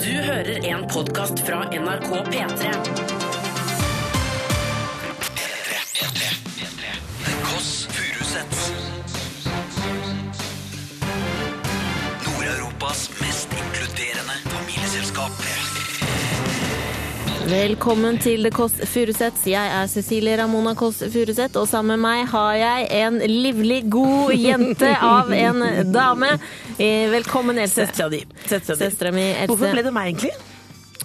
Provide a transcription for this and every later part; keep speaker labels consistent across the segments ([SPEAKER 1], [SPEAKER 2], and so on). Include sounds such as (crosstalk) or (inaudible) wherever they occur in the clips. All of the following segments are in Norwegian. [SPEAKER 1] Du hører en podkast fra NRK P3.
[SPEAKER 2] The Kåss Furuseths. Nord-Europas mest inkluderende familieselskap.
[SPEAKER 3] Velkommen til The Kåss Furuseths. Jeg er Cecilie Ramona Kåss Furuseth, og sammen med meg har jeg en livlig god jente av en dame. Eh, Velkommen, Else.
[SPEAKER 4] Søstera di. Søstera di.
[SPEAKER 3] Søstera mi, Else.
[SPEAKER 4] Hvorfor ble det meg, egentlig?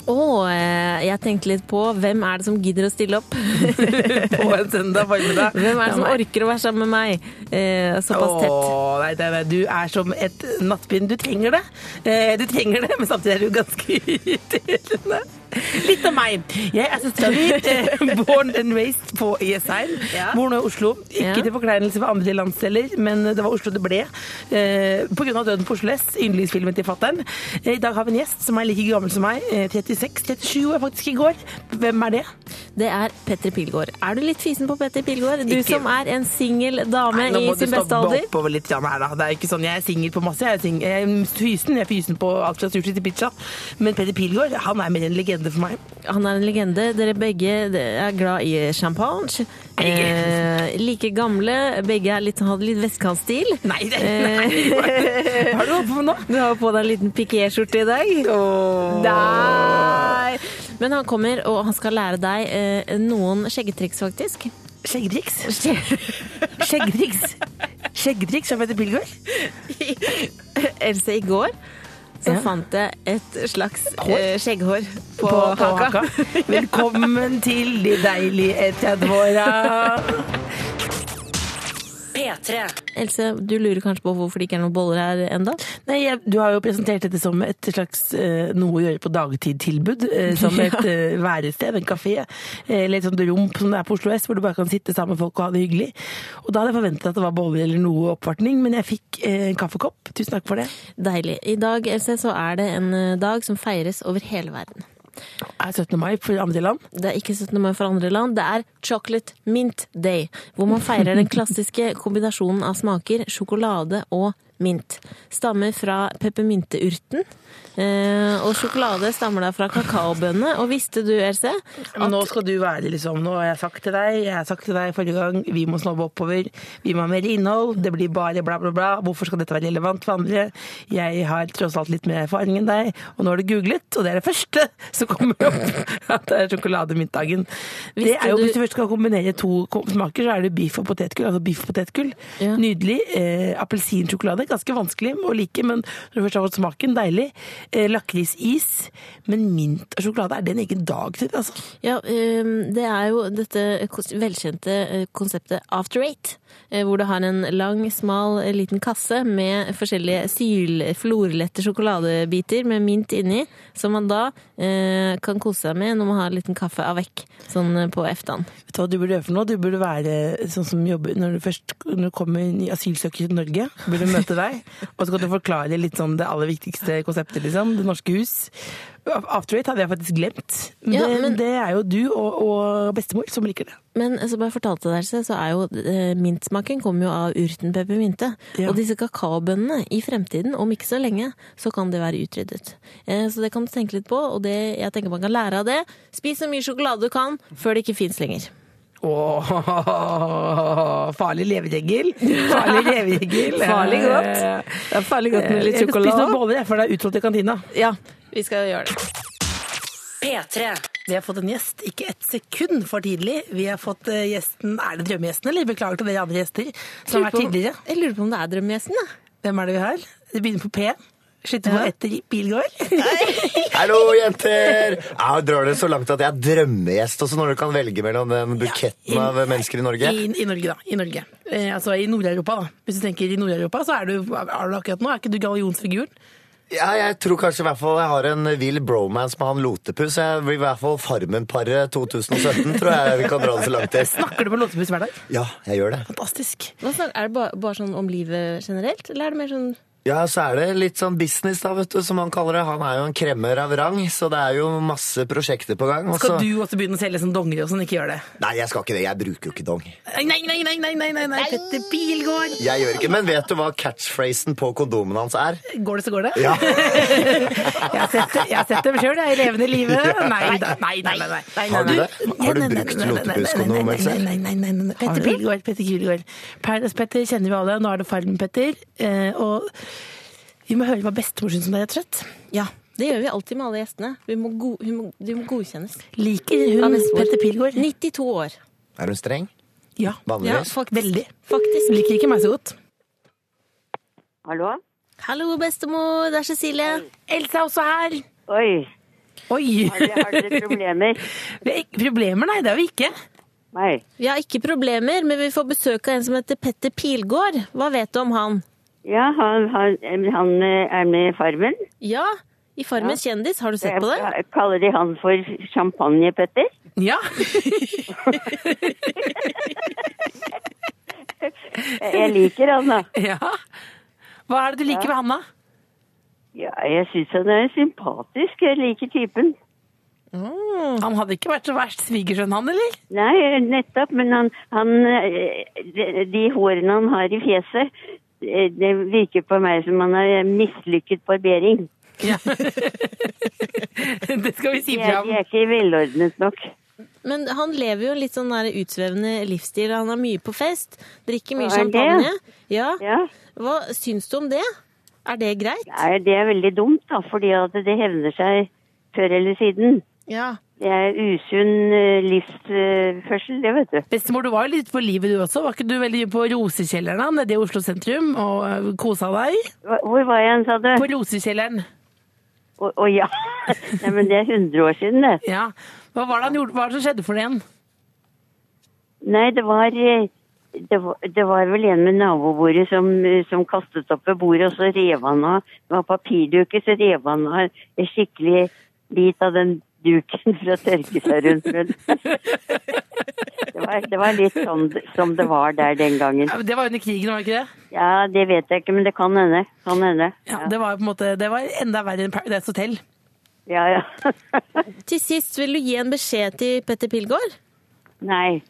[SPEAKER 3] Og eh, jeg tenkte litt på hvem er det som gidder å stille opp?
[SPEAKER 4] (laughs) På en søndag formiddag.
[SPEAKER 3] (laughs) Hvem er det som
[SPEAKER 4] Nei.
[SPEAKER 3] orker å være sammen med meg eh, såpass tett?
[SPEAKER 4] Åh, nei, nei, nei, du er som et nattbind. Du trenger det. Eh, du trenger det, men samtidig er du ganske (laughs) irriterende. Litt av meg. Jeg er søstera
[SPEAKER 3] (laughs)
[SPEAKER 4] di. eh, Born and raised på Jessheim.
[SPEAKER 3] Ja.
[SPEAKER 4] Bor nå i Oslo. Ikke
[SPEAKER 3] Ja.
[SPEAKER 4] til forkleinelse for andre landsdeler, men det var Oslo det ble. Eh, på grunn av Døden på Oslo S, yndlingsfilmen til fattern. Eh, I dag har vi en gjest som er like gammel som meg. Eh, 36-37 år faktisk i går. Hvem er det?
[SPEAKER 3] Det er Petter Pilgaard. Er du litt fisen på Petter Pilgaard? Du
[SPEAKER 4] Ikke-
[SPEAKER 3] som er en singel dame
[SPEAKER 4] Nei, nå
[SPEAKER 3] i
[SPEAKER 4] må du
[SPEAKER 3] sin beste
[SPEAKER 4] stoppe
[SPEAKER 3] alder.
[SPEAKER 4] oppover litt grann her, da. Det er ikke sånn, jeg er singel på masse. Jeg er, sing- jeg er fysen, jeg er fysen på alt fra sushi til pizza. Men Petter Pilgaard, han er mer en legende for meg.
[SPEAKER 3] Han er en legende. Dere begge er glad i champagne. Eh, like gamle. Begge er litt, hadde litt vestkantstil.
[SPEAKER 4] Nei, det, nei, hva har du holdt på med nå?
[SPEAKER 3] (laughs) Du har jo på deg en liten piqué-skjorte Eh. i dag.
[SPEAKER 4] Åh.
[SPEAKER 3] Nei. Men han kommer, og han skal lære deg eh, noen skjeggetriks, faktisk. (laughs)
[SPEAKER 4] Skjeggtriks.
[SPEAKER 3] Skje-
[SPEAKER 4] Skjeggtriks. Skjeggtriks av Petter Pilgaard.
[SPEAKER 3] Else, i går så
[SPEAKER 4] Ja.
[SPEAKER 3] fant jeg et slags
[SPEAKER 4] Hår?
[SPEAKER 3] eh, skjegghår på,
[SPEAKER 4] På- på
[SPEAKER 3] haka.
[SPEAKER 4] haka. Velkommen til de deilige 30-åra.
[SPEAKER 1] P3.
[SPEAKER 3] Else, du lurer kanskje på hvorfor det ikke er noen boller her enda?
[SPEAKER 4] Nei, jeg, Du har jo presentert dette som et slags eh, noe å gjøre på dagtid-tilbud. eh, som et eh, værested, en kafé, eh, eller et sånt rom som det er på Oslo S, hvor du bare kan sitte sammen med folk og ha det hyggelig. Og Da hadde jeg forventet at det var boller eller noe oppvartning, men jeg fikk eh, en kaffekopp. Tusen takk for det.
[SPEAKER 3] Deilig. I dag, Else, så er det en eh, dag som feires over hele verden.
[SPEAKER 4] Er 17. mai for andre land?
[SPEAKER 3] Det er ikke 17. mai for andre land, det er Chocolate Mint Day, hvor man feirer den klassiske kombinasjonen av smaker sjokolade og mint. Stammer fra peppermynteurten, eh, og sjokolade stammer da fra kakaobønne. Og visste du, Else,
[SPEAKER 4] Men nå skal du være liksom, nå har jeg sagt til deg, jeg har sagt til deg forrige gang, vi må snobbe oppover, vi må ha mer innhold, det blir bare bla bla bla, hvorfor skal dette være relevant for andre? Jeg har tross alt litt mer erfaring enn deg, og nå har du googlet, og det er det første som kommer opp, (laughs) at det er sjokolademiddagen. Det
[SPEAKER 3] Visste
[SPEAKER 4] er jo,
[SPEAKER 3] du-
[SPEAKER 4] hvis du først skal kombinere to ko- smaker, så er det biff og potetgull, altså biff og potetgull.
[SPEAKER 3] Ja.
[SPEAKER 4] Nydelig. Eh, Appelsinsjokolade, ganske vanskelig å like, men når du først har fått smaken, deilig. Eh, Lakrisis, men mint og sjokolade, er det en egen dag til, altså?
[SPEAKER 3] Ja, ehm, det er jo dette kos- velkjente eh, konseptet after eight. eh, Hvor du har en lang, smal eh, liten kasse med forskjellige syl, florlette sjokoladebiter med mint inni. Som man da eh, kan kose seg med når man har en liten kaffe av vekk, sånn eh, på eftan.
[SPEAKER 4] Vet du hva du burde gjøre for noe? Du burde være sånn som jobber Når du først når du kommer inn i asylsøker til Norge, burde møte deg, og så kan du forklare litt sånn det aller viktigste konseptet, liksom. Det norske hus. After Eight hadde jeg faktisk glemt. Men,
[SPEAKER 3] Ja,
[SPEAKER 4] det,
[SPEAKER 3] men-
[SPEAKER 4] det er jo du og, og bestemor som liker det.
[SPEAKER 3] Men eh, som jeg fortalte der, så er jo eh, mintsmaken kommer jo av urten peppermynte.
[SPEAKER 4] Ja.
[SPEAKER 3] Og disse kakaobønnene i fremtiden, om ikke så lenge, så kan de være utryddet. Eh, Så det kan du tenke litt på, og det, jeg tenker man kan lære av det. Spis så mye sjokolade du kan før det ikke fins lenger.
[SPEAKER 4] Åh, farlig leveregel. Farlig leveregel.
[SPEAKER 3] Farlig godt. Det er farlig godt med litt
[SPEAKER 4] Spis noen
[SPEAKER 3] sjokolade.
[SPEAKER 4] boller, jeg, for det er utsolgt i kantina.
[SPEAKER 3] Ja, vi skal gjøre det.
[SPEAKER 1] P3.
[SPEAKER 4] Vi har fått en gjest, ikke et sekund for tidlig. Vi har fått eh, gjesten Er det drømmegjesten, eller? Beklager til dere andre gjester som har vært tidligere.
[SPEAKER 3] Jeg lurer på om det er drømmegjesten, jeg.
[SPEAKER 4] Hvem er det vi har? Det begynner på P. Slutter på
[SPEAKER 3] Ja.
[SPEAKER 4] etter Bilgård.
[SPEAKER 5] Hallo, jenter! Jeg drar det så langt at jeg er drømmegjest også, når du kan velge mellom den buketten av mennesker i Norge.
[SPEAKER 4] I, i Norge, da. I Norge. Eh, altså i Nord-Europa, da. Hvis du tenker i Nord-Europa, så er du, er du akkurat nå. Er ikke du gallionsfiguren?
[SPEAKER 5] Ja, jeg tror kanskje i hvert fall jeg har en vill bromance med han Lotepus. Jeg blir i hvert fall Farmen-paret 2017, tror jeg vi kan dra det så langt til.
[SPEAKER 4] Snakker du på låtebuss hver dag?
[SPEAKER 5] Ja, jeg gjør det.
[SPEAKER 4] Fantastisk.
[SPEAKER 3] Hva snak- Er det bare, bare sånn om livet generelt, eller er det mer sånn
[SPEAKER 5] Ja, så er det litt sånn business, da, vet du, som han kaller det. Han er jo en kremmer av rang, så det er jo masse prosjekter på gang. og
[SPEAKER 4] Skal
[SPEAKER 5] så-
[SPEAKER 4] du også begynne å selge sånn dongeri og sånn? Ikke gjør det.
[SPEAKER 5] Nei, jeg skal ikke det. Jeg bruker jo ikke dong.
[SPEAKER 4] Nei, nei, nei, nei, nei, nei, nei, nei. Petter Pilgaard!
[SPEAKER 5] Jeg gjør ikke, Men vet du hva catchphrasen på kondomen hans er?
[SPEAKER 4] Går det, så går det. (laughs)
[SPEAKER 5] Ja.
[SPEAKER 4] Jeg har sett, det- jeg har sett dem sjøl, jeg. I levende live. Nei da. Nei, nei, nei. nei.
[SPEAKER 5] Har du
[SPEAKER 4] nei.
[SPEAKER 5] det? Har du
[SPEAKER 4] Nei, nei, nei, nei, nei,
[SPEAKER 5] brukt
[SPEAKER 4] nei,
[SPEAKER 5] lotepusskondom?
[SPEAKER 4] nei,
[SPEAKER 5] Else?
[SPEAKER 4] Nei, nei, nei, nei, nei.
[SPEAKER 5] Har
[SPEAKER 4] Petter
[SPEAKER 5] du det?
[SPEAKER 4] Pilgaard, Petter Pilgaard. Paradise-Petter kjenner vi alle. Nå er det Farmen-Petter. Eh, og vi må høre hva bestemor syns om det, rett og slett.
[SPEAKER 3] Ja, det gjør vi alltid med alle gjestene. Vi må go hun må, de må godkjennes.
[SPEAKER 4] Liker
[SPEAKER 3] Av
[SPEAKER 4] hun
[SPEAKER 3] bestemor.
[SPEAKER 4] Petter Pilgaard?
[SPEAKER 3] 92 år.
[SPEAKER 5] Er hun streng?
[SPEAKER 4] Ja.
[SPEAKER 3] Ja,
[SPEAKER 5] Vanligvis?
[SPEAKER 3] faktisk.
[SPEAKER 4] Veldig.
[SPEAKER 3] Faktisk.
[SPEAKER 4] Liker ikke meg så godt.
[SPEAKER 6] Hallo?
[SPEAKER 3] Hallo, bestemor. Det er Cecilie.
[SPEAKER 4] Elsa er også her.
[SPEAKER 6] Oi,
[SPEAKER 4] Oi.
[SPEAKER 6] har
[SPEAKER 4] (laughs)
[SPEAKER 6] dere, har dere
[SPEAKER 3] (laughs)
[SPEAKER 6] problemer?
[SPEAKER 4] Vi har ikke problemer, nei. Det har vi ikke.
[SPEAKER 6] Nei.
[SPEAKER 3] Vi har ikke problemer, men vi får besøk av en som heter Petter Pilgaard. Hva vet du om han?
[SPEAKER 6] Ja, han, han, eh, han eh, er med i Farmen.
[SPEAKER 3] Ja, i Farmen kjendis. Har du sett på det?
[SPEAKER 6] Jeg Kaller de han for Champagne-Petter?
[SPEAKER 3] (laughs)
[SPEAKER 4] Ja.
[SPEAKER 6] Jeg- Jeg liker han, da.
[SPEAKER 4] ja. Hva er det du liker ved han, da?
[SPEAKER 6] Ja, jeg syns han er sympatisk. Jeg liker typen.
[SPEAKER 4] Han hadde ikke vært så verst svigersønn, han, eller?
[SPEAKER 6] Nei, nettopp, men han, han eh, de, de hårene han har i fjeset, eh, det virker på meg som han har mislykket barbering.
[SPEAKER 4] (laughs) Det skal vi si
[SPEAKER 6] De er,
[SPEAKER 4] fra
[SPEAKER 6] de
[SPEAKER 4] om.
[SPEAKER 6] er ikke velordnet nok.
[SPEAKER 3] Men han lever jo en litt sånn der utsvevende livsstil. Han er mye på fest, drikker mye
[SPEAKER 6] Hva er det?
[SPEAKER 3] champagne. Ja.
[SPEAKER 6] Ja.
[SPEAKER 3] Hva syns du om det? Er det greit?
[SPEAKER 6] Nei, det er veldig dumt, da, fordi at det hevner seg før eller siden.
[SPEAKER 3] Ja.
[SPEAKER 6] Det er usunn eh, livsførsel, det, vet du.
[SPEAKER 4] Bestemor, du var jo litt på livet du også. Var ikke du veldig på Rosekjelleren da, nede i Oslo sentrum og eh, kosa deg?
[SPEAKER 6] Hva- Hvor var jeg igjen, sa du?
[SPEAKER 4] På Rosekjelleren,
[SPEAKER 6] Å å, ja. (laughs) Nei, men det er 100 år siden, det.
[SPEAKER 4] ja. Hva var det, han gjorde, hva var det som skjedde for deg igjen?
[SPEAKER 6] Nei, det var eh, det var, det var vel en med nabobordet som, eh, som kastet opp ved bordet, og så rev han av Det var papirduker, så rev han av en skikkelig bit av den duken for å tørke seg rundt med. (laughs) Det var, det var litt sånn som det var der den gangen.
[SPEAKER 4] Ja, men Det var under krigen, var det ikke det?
[SPEAKER 6] Ja, det vet jeg ikke, men det kan hende. Kan hende.
[SPEAKER 4] Ja, Det var jo på en måte, det var enda verre enn Paradise Hotel.
[SPEAKER 6] Ja, ja. (laughs)
[SPEAKER 3] Til sist, vil du gi en beskjed til Petter Pilgaard?
[SPEAKER 6] Nei.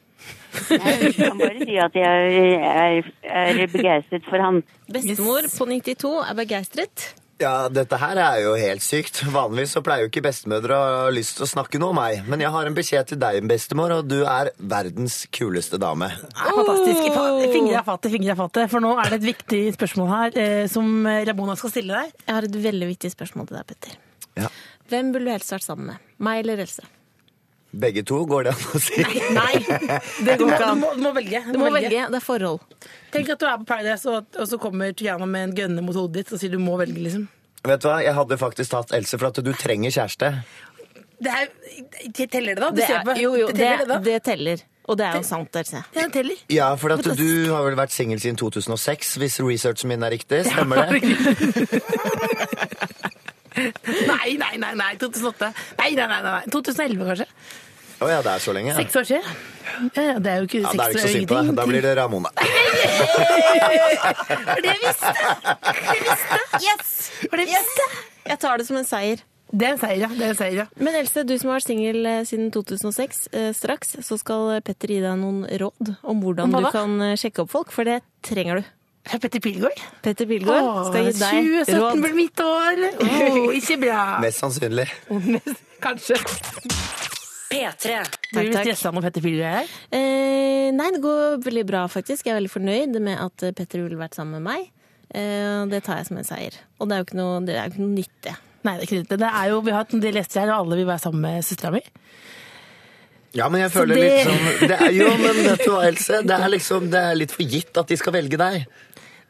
[SPEAKER 6] Nei, Jeg kan bare si at jeg er, er begeistret for han.
[SPEAKER 3] Bestemor på 92 er begeistret.
[SPEAKER 5] Ja, dette her er jo helt sykt. Vanligvis så pleier jo ikke bestemødre å ha lyst til å snakke noe om meg, men jeg har en beskjed til deg, bestemor, og du er verdens kuleste dame.
[SPEAKER 4] Ja, fantastisk. Fa- Fingre av fatet, fingre av fatet. For nå er det et viktig spørsmål her eh, som Ramona skal stille deg.
[SPEAKER 3] Jeg har et veldig viktig spørsmål til deg, Petter.
[SPEAKER 5] Ja.
[SPEAKER 3] Hvem ville du helst vært sammen med? Meg eller (laughs) Else?
[SPEAKER 5] Begge to, går det an å si.
[SPEAKER 3] Nei! Det går ikke
[SPEAKER 4] Du
[SPEAKER 3] an.
[SPEAKER 4] må, du må velge.
[SPEAKER 3] Du må velge. Det er forhold.
[SPEAKER 4] Tenk at du er på Paradise, og, at- og så kommer Triana med en gønne mot hodet ditt og sier du må velge, liksom.
[SPEAKER 5] (laughs) Vet du hva, jeg hadde faktisk tatt Else for at du trenger kjæreste.
[SPEAKER 4] Det er, teller det, da? Du
[SPEAKER 3] Det
[SPEAKER 4] ser
[SPEAKER 3] er,
[SPEAKER 4] på-
[SPEAKER 3] jo, jo,
[SPEAKER 4] det
[SPEAKER 3] det,
[SPEAKER 4] teller det, da?
[SPEAKER 3] det teller. Og det er jo sant, Else.
[SPEAKER 4] Ja, det teller.
[SPEAKER 5] Ja, for at du har vel vært singel siden 2006, hvis researchen min er riktig, stemmer
[SPEAKER 4] (laughs)
[SPEAKER 5] det?
[SPEAKER 4] Nei, nei, nei, nei, 2008. Nei, nei, nei, nei, 2011 kanskje.
[SPEAKER 5] Å ja, det er så lenge. Ja.
[SPEAKER 4] Seks år siden. Ja, ja, det er jo ikke
[SPEAKER 5] Ja,
[SPEAKER 4] seks
[SPEAKER 5] det er
[SPEAKER 4] år,
[SPEAKER 5] ikke så synd på deg. Da
[SPEAKER 4] (laughs)
[SPEAKER 5] blir det Ramona.
[SPEAKER 3] Yes! Jeg tar det som en seier.
[SPEAKER 4] Det er en seier, ja. Det er en seier, ja.
[SPEAKER 3] Men Else, du som har vært singel eh, siden 2006, eh, straks så skal Petter gi deg noen råd om hvordan
[SPEAKER 4] Om hva
[SPEAKER 3] du
[SPEAKER 4] da?
[SPEAKER 3] kan eh, sjekke opp folk, for det trenger du.
[SPEAKER 4] Er Petter Pilgaard?
[SPEAKER 3] Petter Pilgaard skal gi deg
[SPEAKER 4] 2017
[SPEAKER 3] råd.
[SPEAKER 4] blir mitt år. Åh, ikke bra. (laughs)
[SPEAKER 5] Mest sannsynlig.
[SPEAKER 4] Kanskje.
[SPEAKER 1] P3.
[SPEAKER 4] Blir du
[SPEAKER 3] takk.
[SPEAKER 4] stressa når Petter Pilgaard er her?
[SPEAKER 3] Eh, nei, det går veldig bra, faktisk. Jeg er veldig fornøyd med at eh, Petter ville vært sammen med meg. Eh, og det tar jeg som en seier. Og det er jo ikke noe, det er jo ikke noe nytt, det.
[SPEAKER 4] Nei, det er ikke det. det er jo, vi har hatt en del gjester her, og alle vil være sammen med søstera mi.
[SPEAKER 5] Ja, men jeg føler
[SPEAKER 4] det-
[SPEAKER 5] litt sånn det er, Jo, men vet du hva, Else? Det er liksom det er litt for gitt at de skal velge deg.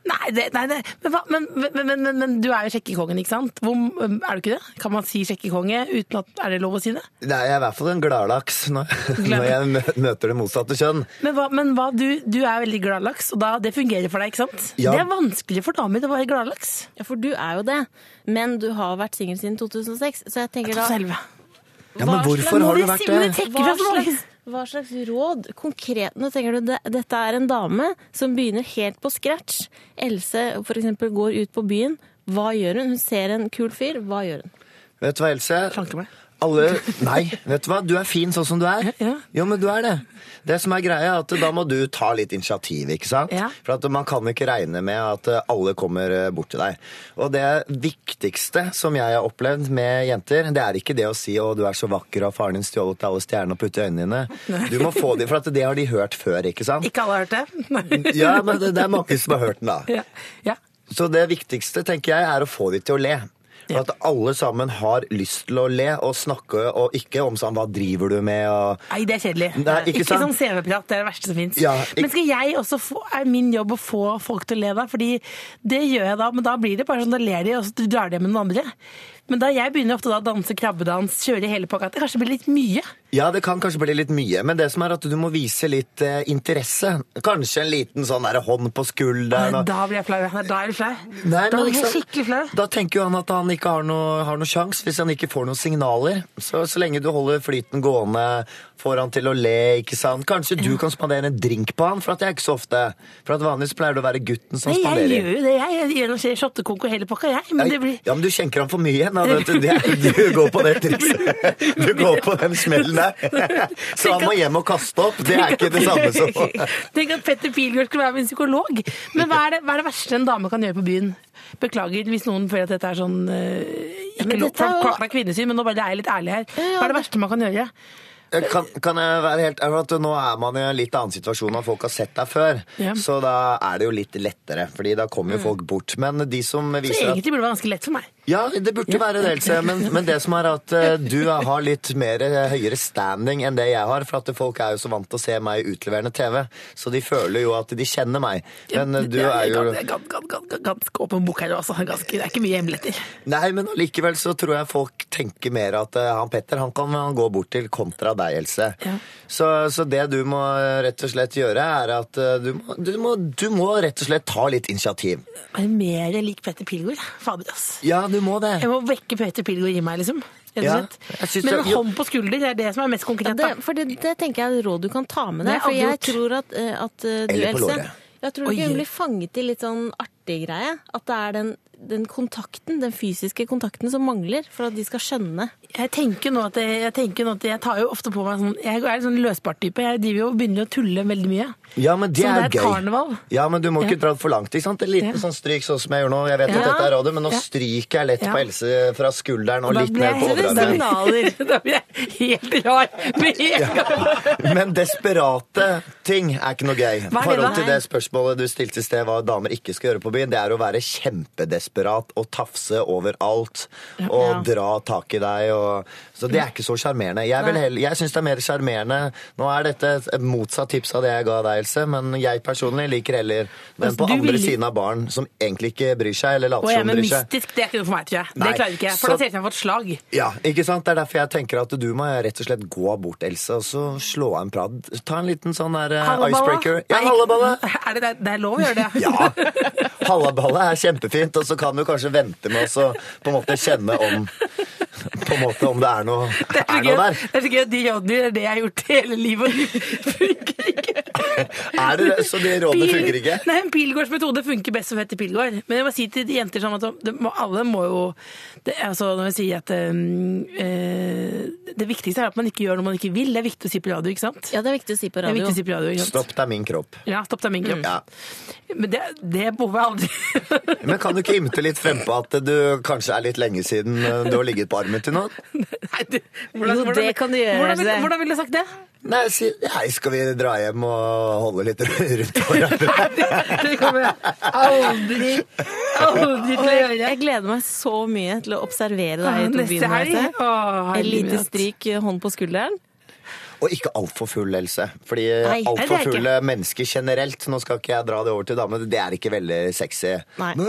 [SPEAKER 4] Nei, det, nei det, men, hva- men, men, men, men, men du er jo sjekkekongen, ikke sant? Hvor, er du ikke det? Kan man si sjekkekonge uten at Er det lov å si det?
[SPEAKER 5] Det er i hvert fall en gladlaks når, (laughs) når jeg mø- møter det motsatte kjønn.
[SPEAKER 4] Men, hva, men hva, du, du er veldig gladlaks, og da, det fungerer for deg, ikke sant?
[SPEAKER 5] Ja.
[SPEAKER 4] Det er vanskelig for damer å være gladlaks.
[SPEAKER 3] Ja, for du er jo det. Men du har vært singel siden 2006, så jeg tenker da
[SPEAKER 4] Selve.
[SPEAKER 5] Ja, men
[SPEAKER 3] Hva
[SPEAKER 5] hvorfor har du
[SPEAKER 4] Må
[SPEAKER 5] vært
[SPEAKER 4] vi si- må vi
[SPEAKER 5] det?
[SPEAKER 4] trekke
[SPEAKER 3] hva
[SPEAKER 4] fra sånn?
[SPEAKER 3] slags, Hva slags råd konkret Nå tenker du det, dette er en dame som begynner helt på scratch. Else for eksempel går ut på byen. Hva gjør hun? Hun ser en kul fyr. Hva gjør hun?
[SPEAKER 5] Vet du hva, Else?
[SPEAKER 4] Slanke meg.
[SPEAKER 5] Alle Nei, vet du hva? Du er fin sånn som du er.
[SPEAKER 4] Ja.
[SPEAKER 5] Jo, men du er det. Det som er greia, er at da må du ta litt initiativ, ikke sant?
[SPEAKER 4] Ja.
[SPEAKER 5] For at man kan ikke regne med at alle kommer eh, bort til deg. Og det viktigste som jeg har opplevd med jenter, det er ikke det å si 'Å, du er så vakker, og faren din stjålet alle stjernene og puttet i øynene dine'. Du må få dem, for at det har de hørt før, ikke sant?
[SPEAKER 4] Ikke alle har hørt det? Nei.
[SPEAKER 5] Ja, men det, det er mange som har hørt den, da.
[SPEAKER 4] (laughs) Ja. ja.
[SPEAKER 5] Så det viktigste, tenker jeg, er å få de til å le. For at alle sammen har lyst til å le og snakke, og ikke om sånn 'hva driver du med', og
[SPEAKER 4] Nei, det er kjedelig.
[SPEAKER 5] Nei, ikke sant?
[SPEAKER 4] sånn CV-prat, det er det verste som fins.
[SPEAKER 5] Ja, ik-
[SPEAKER 4] Men skal jeg også få, er min jobb å få folk til å le da? Fordi det gjør jeg da, men da blir det bare sånn, da ler de, og så drar de med noen andre. Men da jeg begynner ofte da å danse krabbedans, kjøre hele pakka, at det kanskje blir litt mye.
[SPEAKER 5] Ja, det kan kanskje bli litt mye, men det som er at du må vise litt eh, interesse. Kanskje en liten sånn der hånd på skulderen. og-
[SPEAKER 4] Da blir jeg flau. Nei, Da er du flau.
[SPEAKER 5] Nei,
[SPEAKER 4] da
[SPEAKER 5] men liksom-
[SPEAKER 4] blir jeg
[SPEAKER 5] ikke sant?
[SPEAKER 4] skikkelig flau.
[SPEAKER 5] Da tenker jo han at han ikke har noe, har noe sjans hvis han ikke får noen signaler. Så, så lenge du holder flyten gående, får han til å le, ikke sant. Kanskje du kan spandere en drink på han, for at det er ikke så ofte. For at vanligvis pleier det å være gutten som
[SPEAKER 4] Nei, jeg
[SPEAKER 5] spanderer.
[SPEAKER 4] gjør jo det. Jeg, jeg gjennomskjer shottekonk og hele pakka, jeg. Men det blir
[SPEAKER 5] Ja, men du skjenker ham for mye. Da, vet du. Det, du går på det trikset. Du går på den smellen der. Så han må hjem og kaste opp. Det er ikke det samme som
[SPEAKER 4] (laughs) Tenk at Petter Pilgaard skulle være min psykolog. Men hva er, det, hva er det verste en dame kan gjøre på byen? Beklager hvis noen føler at dette er sånn eh, Ikke
[SPEAKER 3] men
[SPEAKER 4] lov
[SPEAKER 3] dette er
[SPEAKER 4] for
[SPEAKER 3] jo-
[SPEAKER 4] klart det er kvinnesyn, men nå bare er jeg litt ærlig her. Hva er det verste man kan gjøre?
[SPEAKER 5] kan, kan jeg være helt ærlig at Nå er man i en litt annen situasjon enn folk har sett deg før.
[SPEAKER 4] Ja.
[SPEAKER 5] Så da er det jo litt lettere, Fordi da kommer jo folk bort. Men de som
[SPEAKER 4] Så
[SPEAKER 5] viser at
[SPEAKER 4] egentlig burde det være ganske lett for meg.
[SPEAKER 5] Ja, det burde være det, Else. Men, men det som er at eh, du har litt mer eh, høyere standing enn det jeg har. For at folk er jo så vant til å se meg i utleverende TV, så de føler jo at de kjenner meg. Men eh, du
[SPEAKER 4] Det
[SPEAKER 5] er jo
[SPEAKER 4] gans- gans- gans- gans- Ganske åpen bok her, altså. Ganske, det er ikke mye hemmeligheter.
[SPEAKER 5] Nei, men allikevel så tror jeg folk tenker mer at eh, han Petter han kan han gå bort til kontra deg, Else.
[SPEAKER 4] Ja.
[SPEAKER 5] Så, så det du må eh, rett og slett gjøre, er at eh, du må, du må, du må rett og slett ta litt initiativ.
[SPEAKER 4] Jeg er mer lik Petter Pilgaard. Fader, ass.
[SPEAKER 5] Ja, du må det.
[SPEAKER 4] Jeg må vekke Petter Pilgaard i meg, liksom. Rett og
[SPEAKER 5] Ja,
[SPEAKER 4] slett.
[SPEAKER 5] jeg synes
[SPEAKER 4] Men
[SPEAKER 5] det-
[SPEAKER 4] en
[SPEAKER 5] jo-
[SPEAKER 4] hånd på skulder, det er det som er mest konkret.
[SPEAKER 3] Det,
[SPEAKER 4] Da.
[SPEAKER 3] for det, det tenker jeg er et råd du kan ta med
[SPEAKER 4] Det
[SPEAKER 3] deg.
[SPEAKER 4] har
[SPEAKER 3] For
[SPEAKER 4] jeg
[SPEAKER 3] jeg
[SPEAKER 4] aldri
[SPEAKER 3] tror at, eh, at eh, du,
[SPEAKER 5] Eller på
[SPEAKER 3] Else
[SPEAKER 5] låret.
[SPEAKER 3] Jeg tror
[SPEAKER 4] Oi.
[SPEAKER 3] ikke hun blir fanget i litt sånn artig greie. At det er den, den kontakten, den fysiske kontakten som mangler for at de skal skjønne.
[SPEAKER 4] Jeg tenker nå at jeg, jeg, tenker nå at jeg tar jo ofte på meg sånn Jeg er en sånn løsbart-type. Jeg driver jo og begynner å tulle veldig mye.
[SPEAKER 5] Ja, men det
[SPEAKER 4] Som det
[SPEAKER 5] er
[SPEAKER 4] er
[SPEAKER 5] gøy.
[SPEAKER 4] sånn karneval.
[SPEAKER 5] Ja, men du må ikke
[SPEAKER 4] Ja.
[SPEAKER 5] dra det for langt. ikke sant? En liten
[SPEAKER 4] Ja.
[SPEAKER 5] sånn stryk sånn som jeg gjør nå. Jeg vet
[SPEAKER 4] Ja.
[SPEAKER 5] at dette er rådet, men nå
[SPEAKER 4] Ja.
[SPEAKER 5] stryker jeg lett
[SPEAKER 4] Ja.
[SPEAKER 5] på Else fra skulderen og
[SPEAKER 4] Da
[SPEAKER 5] litt
[SPEAKER 4] blir
[SPEAKER 5] ned på
[SPEAKER 4] jeg-
[SPEAKER 5] overarmen.
[SPEAKER 4] (laughs) da blir jeg helt rar med en
[SPEAKER 5] sånn
[SPEAKER 4] gang.
[SPEAKER 5] Men desperate ting er ikke noe gøy.
[SPEAKER 4] Hva
[SPEAKER 5] I
[SPEAKER 4] er det da?
[SPEAKER 5] forhold til det spørsmålet du stilte i sted, hva damer ikke skal gjøre på byen, det er å være kjempedesperat og tafse overalt og
[SPEAKER 3] Ja.
[SPEAKER 5] dra tak i deg. Og... Så det er ikke så sjarmerende. Jeg, vil heller- jeg syns det er mer sjarmerende Nå er dette et motsatt tips av det jeg ga deg, Else, men jeg personlig liker heller den
[SPEAKER 4] Altså,
[SPEAKER 5] på
[SPEAKER 4] du
[SPEAKER 5] andre
[SPEAKER 4] vil-
[SPEAKER 5] siden av baren som egentlig ikke bryr seg, eller
[SPEAKER 4] Og
[SPEAKER 5] later
[SPEAKER 4] jeg
[SPEAKER 5] som
[SPEAKER 4] med
[SPEAKER 5] bryr seg.
[SPEAKER 4] mystisk, det er ikke noe for meg, tror jeg.
[SPEAKER 5] Nei,
[SPEAKER 4] det klarer ikke jeg. For
[SPEAKER 5] så-
[SPEAKER 4] da ser jeg ut som jeg har fått slag.
[SPEAKER 5] Ja, ikke sant? Det er derfor jeg tenker at du må rett og slett gå bort, Else, og så slå av en prat. Ta en liten sånn der eh,
[SPEAKER 4] Hallaballa.
[SPEAKER 5] icebreaker. Ja,
[SPEAKER 4] Nei,
[SPEAKER 5] hallaballa!
[SPEAKER 4] (laughs) Er det, det er lov å gjøre det? (laughs)
[SPEAKER 5] Ja, hallaballa er kjempefint, og så kan du kanskje vente med oss og på en måte kjenne om på en måte om det er noe,
[SPEAKER 4] Det
[SPEAKER 5] er
[SPEAKER 4] er så gøy,
[SPEAKER 5] noe der.
[SPEAKER 4] det er så gøy at de rådene er det jeg har gjort hele livet, (laughs) og det funker ikke.
[SPEAKER 5] Er det det? Så de rådene
[SPEAKER 4] Pil-
[SPEAKER 5] funker ikke?
[SPEAKER 4] (laughs) Nei, en Pilgaards metode funker best som heter Pilgaard. Men jeg må si til de jenter sånn at det må, alle må jo det, er altså, Når jeg sier at um, eh, Det viktigste er at man ikke gjør noe man ikke vil. Det er viktig å si på radio, ikke sant?
[SPEAKER 3] Ja, det er viktig å si på
[SPEAKER 4] Det er
[SPEAKER 3] radio.
[SPEAKER 4] viktig å si på radio, ikke sant?
[SPEAKER 5] Stopp deg min kropp.
[SPEAKER 4] Ja, stopp deg, min kropp.
[SPEAKER 5] Ja.
[SPEAKER 4] Men det, det behøver jeg aldri. (laughs)
[SPEAKER 5] Men kan du ikke imte litt frempå at du kanskje er litt lenge siden eh, du har ligget på armen til noen?
[SPEAKER 4] Nei, du,
[SPEAKER 3] Jo, det kan du gjøre,
[SPEAKER 4] Hvordan,
[SPEAKER 3] Else.
[SPEAKER 4] hvordan, hvordan ville du sagt det? (laughs)
[SPEAKER 5] Nei, si, nei, skal vi dra hjem og holde litt rundt hverandre?
[SPEAKER 4] Det kommer jeg aldri, aldri
[SPEAKER 3] Jeg,
[SPEAKER 4] til å gjøre.
[SPEAKER 3] jeg gleder meg så mye til å observere deg ute på
[SPEAKER 4] Neste
[SPEAKER 3] byen.
[SPEAKER 4] helg.
[SPEAKER 3] Merete.
[SPEAKER 4] Å,
[SPEAKER 3] Et lite
[SPEAKER 4] herregud.
[SPEAKER 3] stryk eh, hånd på skulderen.
[SPEAKER 5] Og ikke altfor full, Else. Fordi
[SPEAKER 3] Nei,
[SPEAKER 4] det er
[SPEAKER 5] altfor
[SPEAKER 4] jeg ikke.
[SPEAKER 5] fulle mennesker generelt Nå skal ikke jeg dra det over til damene, det er ikke veldig sexy. øh,
[SPEAKER 3] Nei.
[SPEAKER 5] Du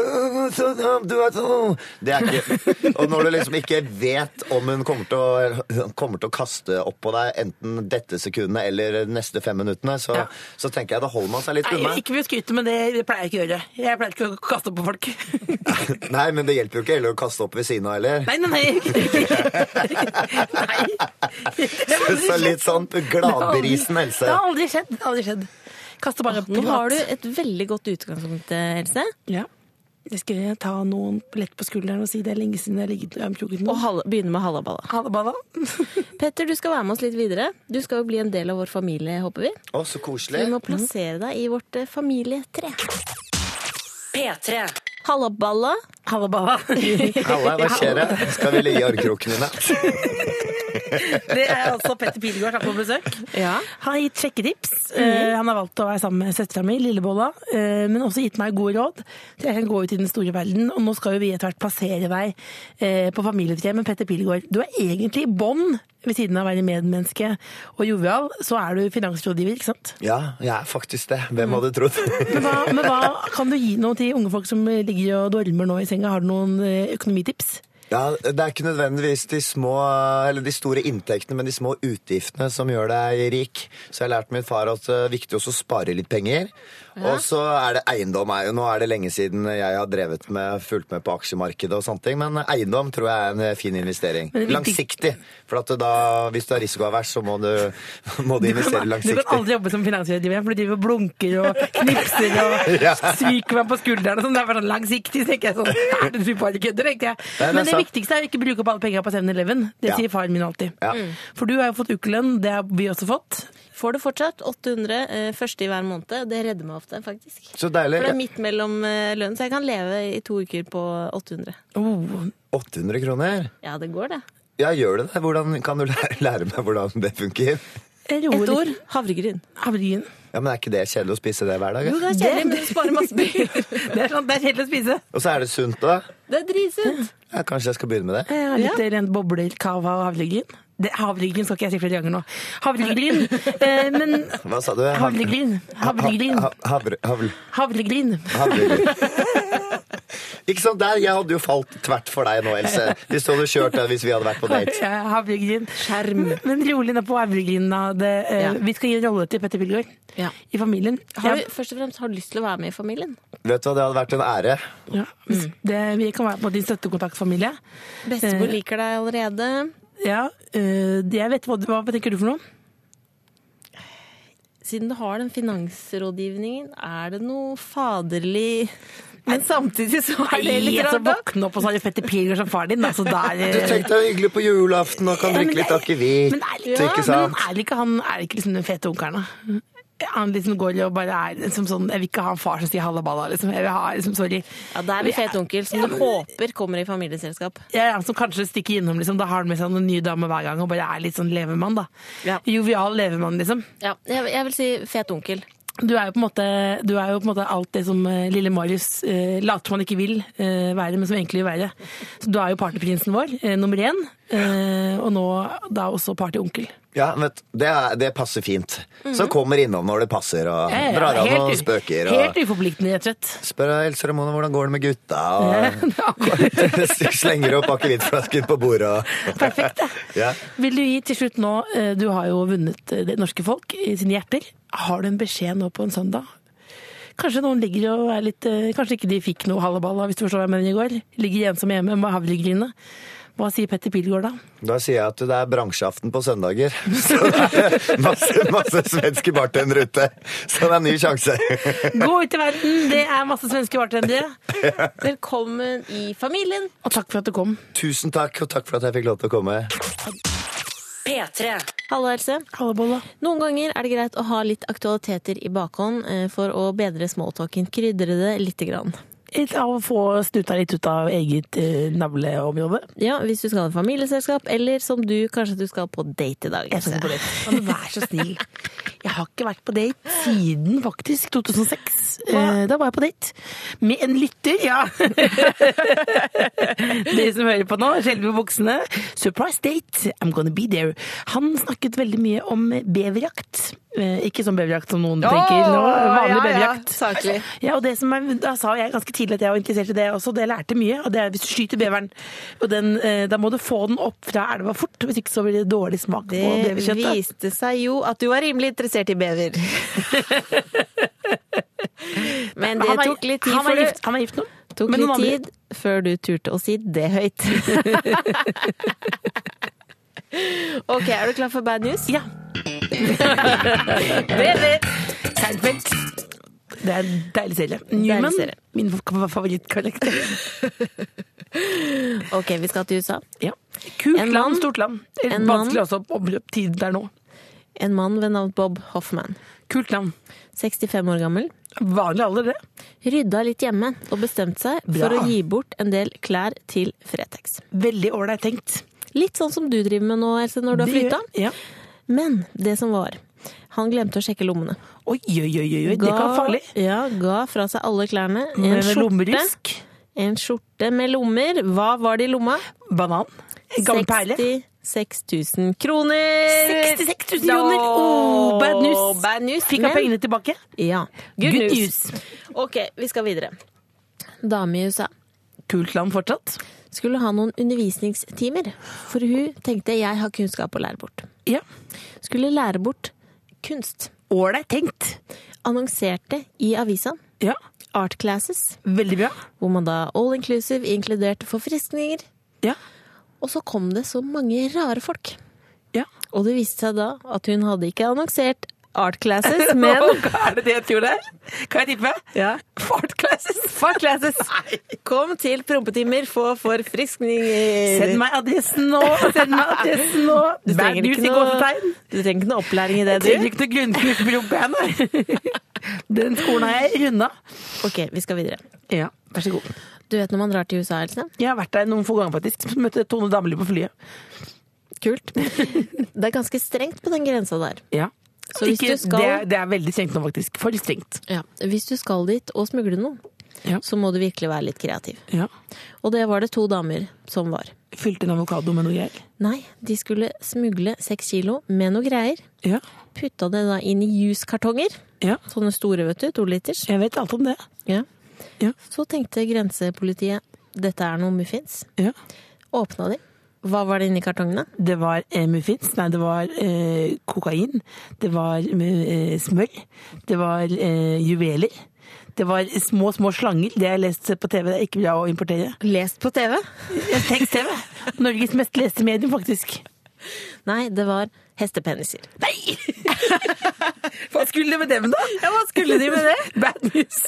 [SPEAKER 5] er så- Det er ikke Og når du liksom ikke vet om hun kommer til å, kommer til å kaste opp på deg enten dette sekundet eller de neste fem minuttene, så,
[SPEAKER 4] Ja.
[SPEAKER 5] så tenker jeg da holder man seg litt
[SPEAKER 4] Nei,
[SPEAKER 5] unna.
[SPEAKER 4] ikke ved å skryte, men det, det pleier jeg ikke å gjøre. Jeg pleier ikke å kaste opp på folk. (laughs)
[SPEAKER 5] Nei, men det hjelper jo ikke heller å kaste opp ved siden av heller.
[SPEAKER 4] Nei, nei, nei. nei.
[SPEAKER 5] (laughs) Så litt sånn Gladberisen
[SPEAKER 4] Det
[SPEAKER 5] Else.
[SPEAKER 4] har aldri skjedd. Aldri skjedd. Kaster bare på
[SPEAKER 3] Nå har du
[SPEAKER 4] prat.
[SPEAKER 3] et veldig godt utgangspunkt, eh, Else.
[SPEAKER 4] Ja. Jeg skulle ta noen lett på skulderen og si det er lenge siden jeg har ligget og omkroket
[SPEAKER 3] Og
[SPEAKER 4] noen.
[SPEAKER 3] hal- begynne med hallaballa.
[SPEAKER 4] Ha det (laughs) bra, da.
[SPEAKER 3] Petter, du skal være med oss litt videre. Du skal jo bli en del av vår familie, håper vi.
[SPEAKER 5] Å, så
[SPEAKER 3] Vi
[SPEAKER 5] koselig.
[SPEAKER 3] må plassere deg i vårt eh, familietre.
[SPEAKER 1] P3.
[SPEAKER 3] Hallaballa.
[SPEAKER 4] Ha det bra. (laughs)
[SPEAKER 5] Halla, hva skjer? det? Skal vi ligge i armkrokene dine?
[SPEAKER 4] Det er altså Petter Pilegaard takk på besøk.
[SPEAKER 3] Ja.
[SPEAKER 4] Han har gitt sjekketips. Eh, Han har valgt å være sammen med søstera mi, Lillebolla, eh, men også gitt meg gode råd. Så jeg kan gå ut i den store verden, og nå skal jo vi etter hvert plassere deg eh, på familietreet med Petter Pilegaard. Du er egentlig i bånn ved siden av å være medmenneske og jovial, så er du finansrådgiver, ikke sant?
[SPEAKER 5] Ja, jeg er faktisk det.
[SPEAKER 4] Mm.
[SPEAKER 5] Hvem hadde trodd?
[SPEAKER 4] Men (laughs) hva, men hva kan du gi noe til unge folk som ligger og dormer nå i senga? Har du noen eh, økonomitips?
[SPEAKER 5] Ja, Det er ikke nødvendigvis de, små, eller de store inntektene, men de små utgiftene som gjør deg rik. Så jeg har lært min far at det er viktig også å spare litt penger. Og så er det eiendom. er jo- Nå er det lenge siden jeg har drevet med, fulgt med på aksjemarkedet og sånne ting, men eiendom tror jeg er en eh, fin investering.
[SPEAKER 4] Men det er
[SPEAKER 5] Langsiktig. For at da, hvis du er risikoavers, så må du, (laughs) må du
[SPEAKER 4] Du
[SPEAKER 5] investere
[SPEAKER 4] kan
[SPEAKER 5] langsiktig.
[SPEAKER 4] aldri jobbe som finansrådgiver, for du driver og blunker og knipser og
[SPEAKER 5] (laughs) Ja.
[SPEAKER 4] stryker meg på skulderen og sånn. Det er bare sånn langsiktig, tenker jeg sånn. Er du bare kødder, tenkte jeg.
[SPEAKER 5] Nei, det er
[SPEAKER 4] Men det
[SPEAKER 5] sant.
[SPEAKER 4] viktigste er å ikke bruke opp alle pengene på 7-Eleven. Det
[SPEAKER 5] Ja.
[SPEAKER 4] sier faren min alltid.
[SPEAKER 5] Ja.
[SPEAKER 3] Mm.
[SPEAKER 4] For du har jo fått ukelønn, det har vi også fått.
[SPEAKER 3] Får det fortsatt. 800 eh, første i hver måned. Det redder meg ofte, faktisk.
[SPEAKER 5] Så
[SPEAKER 3] For det er
[SPEAKER 5] deilig.
[SPEAKER 3] midt mellom eh, lønn, så jeg kan leve i to uker på 800.
[SPEAKER 4] Oh,
[SPEAKER 5] 800 kroner?
[SPEAKER 3] Ja, det går, det.
[SPEAKER 5] Ja, gjør det det? Hvordan kan du lære, (laughs) lære meg hvordan det funker?
[SPEAKER 3] Et ord havregryn.
[SPEAKER 4] Havregryn.
[SPEAKER 5] Ja, Men er ikke det kjedelig å spise det hver dag? ja?
[SPEAKER 3] Jo, (laughs) det er kjedelig, men du sparer masse penger.
[SPEAKER 4] Det er sånn, det er kjedelig å spise.
[SPEAKER 5] Og så er det sunt, da.
[SPEAKER 3] Det er dritsunt.
[SPEAKER 5] Ja, kanskje jeg skal begynne med det?
[SPEAKER 4] Jeg har litt rent bobler, kava og havregryn. Det, havregryn skal ikke jeg si flere ganger nå. Havregryn.
[SPEAKER 5] (laughs)
[SPEAKER 4] eh, men
[SPEAKER 5] Hva sa du?
[SPEAKER 4] havregryn. Havregryn.
[SPEAKER 5] Ha- ha- havre- havl-
[SPEAKER 4] Havregryn. (laughs)
[SPEAKER 5] havregryn. Ikke sant? Der, Jeg hadde jo falt tvert for deg nå, Else. Hvis du hadde kjørt den hvis vi hadde vært på date.
[SPEAKER 4] Ja, havregryn.
[SPEAKER 3] Skjerm.
[SPEAKER 4] Men- Men rolig nå på havregryn. da. Det, eh,
[SPEAKER 3] Ja.
[SPEAKER 4] Vi skal gi en rolle til Petter Pilgaard
[SPEAKER 3] Ja.
[SPEAKER 4] i familien.
[SPEAKER 3] Har
[SPEAKER 4] Ja,
[SPEAKER 3] du, først og fremst, har du lyst til å være med i familien?
[SPEAKER 5] Vet du hva, Det hadde vært en ære.
[SPEAKER 4] ja.
[SPEAKER 3] Mm.
[SPEAKER 4] Det, vi kan være på din støttekontaktfamilie.
[SPEAKER 3] Bestemor liker deg allerede.
[SPEAKER 4] Ja, eh, det- jeg vet hva, du- hva tenker du for noe?
[SPEAKER 3] Siden du har den finansrådgivningen, er det noe faderlig Men samtidig så er det litt
[SPEAKER 4] altså,
[SPEAKER 3] rart, da.
[SPEAKER 4] våkne opp, og så har du Petter Pilgaard som far din. Altså, da er
[SPEAKER 5] Du
[SPEAKER 4] det-
[SPEAKER 5] tenkte deg hyggelig på julaften og kan
[SPEAKER 4] Ja, men
[SPEAKER 5] drikke litt
[SPEAKER 4] det-
[SPEAKER 5] akevitt.
[SPEAKER 4] Men er,
[SPEAKER 5] ikke
[SPEAKER 4] ja, men
[SPEAKER 5] sant?
[SPEAKER 4] er det ikke han er det ikke liksom den fete onkelen, da? Han liksom går og bare er liksom sånn Jeg vil ikke ha en far som sier hallaballa, liksom. Jeg vil ha liksom, sorry.
[SPEAKER 3] Ja, Da er vi fet onkel, som du håper kommer i familieselskap.
[SPEAKER 4] Ja, ja, som kanskje stikker innom, liksom. Da har han med seg noen nye damer hver gang og bare er litt sånn levemann, da.
[SPEAKER 3] Ja.
[SPEAKER 4] Jovial levemann, liksom.
[SPEAKER 3] Ja, jeg, jeg vil si fet (laughs) onkel.
[SPEAKER 4] Du er jo på en måte, du er jo på en måte alt det som eh, lille Marius eh, later som han ikke vil eh, være, men som egentlig vil være. Så du er jo partyprinsen vår, eh, nummer én, eh, og nå da også partyonkel.
[SPEAKER 5] Ja, vet, du, det, er, det passer fint. Så kommer innom når det passer, og
[SPEAKER 4] Mhm. Ja, ja,
[SPEAKER 5] drar av
[SPEAKER 4] helt
[SPEAKER 5] noen
[SPEAKER 4] u-
[SPEAKER 5] spøker.
[SPEAKER 4] Helt
[SPEAKER 5] Og
[SPEAKER 4] uforpliktende, rett og slett.
[SPEAKER 5] spør Else Ramona hvordan går det med
[SPEAKER 4] (laughs)
[SPEAKER 5] gutta. Og
[SPEAKER 4] Ja, akkurat.
[SPEAKER 5] (laughs) slenger opp akevittflasken på bordet. Og...
[SPEAKER 4] (laughs) Perfekt, det.
[SPEAKER 5] Ja.
[SPEAKER 4] Vil du gi til slutt nå, eh, du har jo vunnet eh, det norske folk i sine hjerter. Har du en beskjed nå på en søndag? Kanskje noen ligger og er litt eh, Kanskje ikke de fikk noe hallaballa, hvis du forstår hva jeg mener, i går. Ligger ensomme hjemme med havregrynet. Hva sier Petter Pilgaard da?
[SPEAKER 5] Da sier jeg at det er bransjeaften på søndager. (laughs) Så det er masse, masse svenske bartendere ute. Så det er en ny sjanse. (laughs)
[SPEAKER 4] Gå ut i verden! Det er masse svenske bartendere.
[SPEAKER 3] Velkommen i familien.
[SPEAKER 4] Og takk for at du kom.
[SPEAKER 5] Tusen takk, og takk for at jeg fikk lov til å komme.
[SPEAKER 1] P3.
[SPEAKER 3] Hallo, Else.
[SPEAKER 4] Hallebolla.
[SPEAKER 3] Noen ganger er det greit å ha litt aktualiteter i bakhånd eh, for å bedre smalltalken. Krydre det lite grann.
[SPEAKER 4] Litt av å få snuta litt ut av eget eh, navleområde.
[SPEAKER 3] Ja, hvis du skal ha familieselskap, eller som du, kanskje du skal på date i dag.
[SPEAKER 4] Jeg
[SPEAKER 3] Else.
[SPEAKER 4] skal ikke på date. Ja, men vær så snill. Jeg har ikke vært på date siden faktisk 2006. Eh, Da var jeg på date med en lytter, ja. (laughs) Dere som hører på nå, skjelver på buksene. Surprise date, I'm gonna be there. Han snakket veldig mye om beverjakt. Eh, Ikke sånn beverjakt som noen tenker nå. Vanlig beverjakt.
[SPEAKER 3] Saklig.
[SPEAKER 4] Ja, og det som er, Da sa jeg ganske tidlig at jeg var interessert i det også, det jeg lærte mye. og det er Hvis du skyter beveren, og den, eh, da må du få den opp fra elva fort. Hvis ikke så blir det dårlig smak på
[SPEAKER 3] Det
[SPEAKER 4] beverkjøttet.
[SPEAKER 3] viste seg jo at du var rimelig interessert i
[SPEAKER 4] (laughs)
[SPEAKER 3] bever. Men det
[SPEAKER 4] Han er-
[SPEAKER 3] tok litt tid
[SPEAKER 4] han er
[SPEAKER 3] før
[SPEAKER 4] gift,
[SPEAKER 3] du
[SPEAKER 4] han er gift nå.
[SPEAKER 3] tok
[SPEAKER 4] Men
[SPEAKER 3] litt
[SPEAKER 4] noen andre- (laughs)
[SPEAKER 3] tid før du turte å si det høyt. Ok, er du klar for bad news? (laughs)
[SPEAKER 4] Ja.
[SPEAKER 3] Baby!
[SPEAKER 4] Seinfeld. Det er en deilig serie. Newman,
[SPEAKER 3] serie.
[SPEAKER 4] min fa- favorittkarakter.
[SPEAKER 3] Ok, vi skal til USA.
[SPEAKER 4] Ja. Kult
[SPEAKER 3] En mann.
[SPEAKER 4] land, stort land. Eh,
[SPEAKER 3] En
[SPEAKER 4] Vanskelig også å omløpe tiden der nå.
[SPEAKER 3] En mann ved navn Bob Hoffman.
[SPEAKER 4] Kult land.
[SPEAKER 3] 65 år gammel.
[SPEAKER 4] Vanlig alder, det.
[SPEAKER 3] Rydda litt hjemme og bestemte seg for
[SPEAKER 4] Bra.
[SPEAKER 3] å gi bort en del klær til Fretex.
[SPEAKER 4] Veldig ålreit tenkt.
[SPEAKER 3] Litt sånn som du driver med nå, Else, når du har
[SPEAKER 4] Det
[SPEAKER 3] flytta.
[SPEAKER 4] gjør- Ja.
[SPEAKER 3] Men det som var, han glemte å sjekke lommene.
[SPEAKER 4] Oi, oi, oi, oi, oi. det kan være farlig.
[SPEAKER 3] Ja, ga fra seg alle klærne. En
[SPEAKER 4] Med
[SPEAKER 3] skjorte,
[SPEAKER 4] lommerusk.
[SPEAKER 3] en skjorte med lommer. Hva var det i lomma?
[SPEAKER 4] Banan. En Gammel perle.
[SPEAKER 3] 66 000 kroner!
[SPEAKER 4] 66 000 kroner. Oh, bad news.
[SPEAKER 3] Bad news.
[SPEAKER 4] Fikk han
[SPEAKER 3] men-
[SPEAKER 4] pengene tilbake?
[SPEAKER 3] Ja. Good,
[SPEAKER 4] Good
[SPEAKER 3] news. Ok, vi skal videre. Dame i USA
[SPEAKER 4] Kult land fortsatt.
[SPEAKER 3] skulle ha noen undervisningstimer, for hun tenkte jeg har kunnskap å lære bort.
[SPEAKER 4] Ja.
[SPEAKER 3] Skulle lære bort kunst.
[SPEAKER 4] Ålreit tenkt.
[SPEAKER 3] Annonserte i avisa
[SPEAKER 4] Ja.
[SPEAKER 3] Art Classes,
[SPEAKER 4] Veldig bra.
[SPEAKER 3] hvor man da all inclusive inkluderte forfriskninger.
[SPEAKER 4] Ja.
[SPEAKER 3] Og så kom det så mange rare folk.
[SPEAKER 4] ja.
[SPEAKER 3] Og det viste seg da at hun hadde ikke annonsert Art (laughs)
[SPEAKER 4] (laughs)
[SPEAKER 3] Classes, men
[SPEAKER 4] Hva er det det jeg tror det er? Kan jeg tippe?
[SPEAKER 3] Ja.
[SPEAKER 4] Fart classes.
[SPEAKER 3] Fart
[SPEAKER 4] (laughs)
[SPEAKER 3] Classes! Kom til prompetimer, få forfriskninger.
[SPEAKER 4] Send meg adressen nå! Send meg adressen (laughs) nå!
[SPEAKER 3] Du
[SPEAKER 4] Bad
[SPEAKER 3] trenger
[SPEAKER 4] news
[SPEAKER 3] ikke
[SPEAKER 4] i
[SPEAKER 3] noe,
[SPEAKER 4] gåsetegn.
[SPEAKER 3] du trenger ikke noe opplæring i det,
[SPEAKER 4] Jeg trenger
[SPEAKER 3] du.
[SPEAKER 4] ikke noe grunnkurs på rumpehjerne. (laughs) Den skolen har jeg runda.
[SPEAKER 3] Ok, vi skal videre.
[SPEAKER 4] Ja, vær så god.
[SPEAKER 3] Du vet når man drar til USA, Else?
[SPEAKER 4] Jeg har vært der noen få ganger, faktisk. Møtte Tone Damli på flyet.
[SPEAKER 3] Kult. (laughs) Det er ganske strengt på den grensa der.
[SPEAKER 4] Ja.
[SPEAKER 3] Så hvis
[SPEAKER 4] ikke,
[SPEAKER 3] du skal-
[SPEAKER 4] det, er, det er veldig strengt nå, faktisk. For strengt.
[SPEAKER 3] Hvis du skal dit og smugle noe,
[SPEAKER 4] Ja.
[SPEAKER 3] så må du virkelig være litt kreativ.
[SPEAKER 4] Ja.
[SPEAKER 3] Og det var det to damer som var.
[SPEAKER 4] Fylte en avokado med noe greier.
[SPEAKER 3] Nei, de skulle smugle seks kilo med noe greier.
[SPEAKER 4] Ja.
[SPEAKER 3] Putta det da inn i juskartonger.
[SPEAKER 4] ja.
[SPEAKER 3] Sånne store, vet du. To liters.
[SPEAKER 4] Jeg vet alt om det.
[SPEAKER 3] Ja.
[SPEAKER 4] Ja.
[SPEAKER 3] Så tenkte grensepolitiet dette er noe muffins.
[SPEAKER 4] Ja.
[SPEAKER 3] Åpna de. Hva var det inni kartongene?
[SPEAKER 4] Det var eh, muffins, nei, det var eh, kokain, det var eh, smør, det var eh, juveler. Det var små, små slanger. Det har jeg lest på TV, det er ikke bra å importere.
[SPEAKER 3] Lest på TV.
[SPEAKER 4] Tekst-TV! Norges mest leste medium, faktisk.
[SPEAKER 3] Nei, det var hestepeniser.
[SPEAKER 4] Nei! Hva skulle de med dem, da?
[SPEAKER 3] Ja, hva skulle de med det?
[SPEAKER 4] Bad news.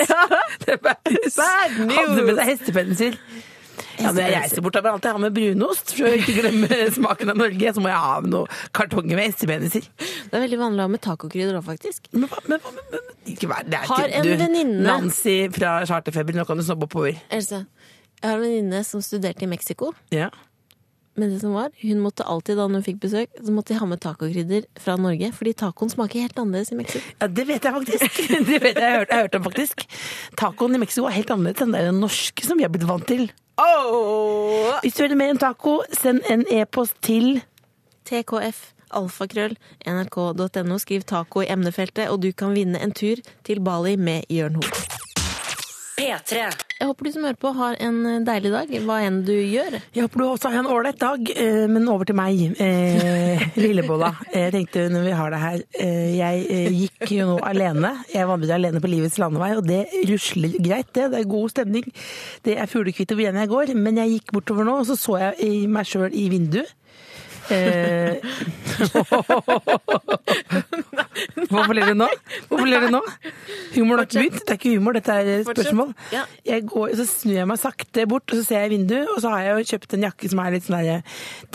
[SPEAKER 4] Det er bad news.
[SPEAKER 3] Bad
[SPEAKER 4] Hadde med
[SPEAKER 3] news.
[SPEAKER 4] seg hestepeniser. Ja, når jeg reiser bort, da må jeg alltid ha med brunost, for å ikke glemme smaken av Norge. Så må jeg ha med noen kartonger med hestepeniser.
[SPEAKER 3] Det er veldig vanlig å ha med tacokrydder òg, faktisk.
[SPEAKER 4] Men, hva- men, hva- men, men ikke vær, det er
[SPEAKER 3] Har
[SPEAKER 4] ikke,
[SPEAKER 3] en
[SPEAKER 4] du,
[SPEAKER 3] venninne-
[SPEAKER 4] Nancy fra Charterfeber, nå kan du snobbe oppover.
[SPEAKER 3] Else, jeg har en venninne som studerte i Mexico.
[SPEAKER 4] Ja.
[SPEAKER 3] Men det som var, hun måtte alltid da når hun fikk besøk, så måtte de ha med tacokrydder fra Norge. Fordi tacoen smaker helt annerledes i Mexico.
[SPEAKER 4] ja, det vet jeg faktisk. (laughs) Det vet jeg, jeg har hørt, jeg har hørt om faktisk. Tacoen i Mexico er helt annerledes enn den norske som vi er blitt vant til. Hvis du vil mer enn taco, send en e-post til
[SPEAKER 3] TKF alfakrøll nrk.no. Skriv taco i emnefeltet, og du kan vinne en tur til Bali med Jørn Hoel.
[SPEAKER 1] P3.
[SPEAKER 3] Jeg håper du som hører på har en eh, deilig dag, hva enn du gjør.
[SPEAKER 4] Jeg håper du også har en ålreit dag, eh, men over til meg. Eh, Lillebolla. Jeg tenkte når vi har deg her eh, Jeg eh, gikk jo nå alene. Jeg vandret alene på livets landevei, og det rusler greit, det. Det er god stemning. Det er fuglekvitt over igjen jeg går, men jeg gikk bortover nå, og så så jeg i meg sjøl i vinduet. Eh. (laughs) Hvorfor ler du nå? Hvorfor ler du nå? Humoren har ikke begynt. Det er ikke humor, dette er spørsmål.
[SPEAKER 3] Ja.
[SPEAKER 4] Jeg går, så snur jeg meg sakte bort, og så ser jeg vinduet, og så har jeg jo kjøpt en jakke som er litt sånn derre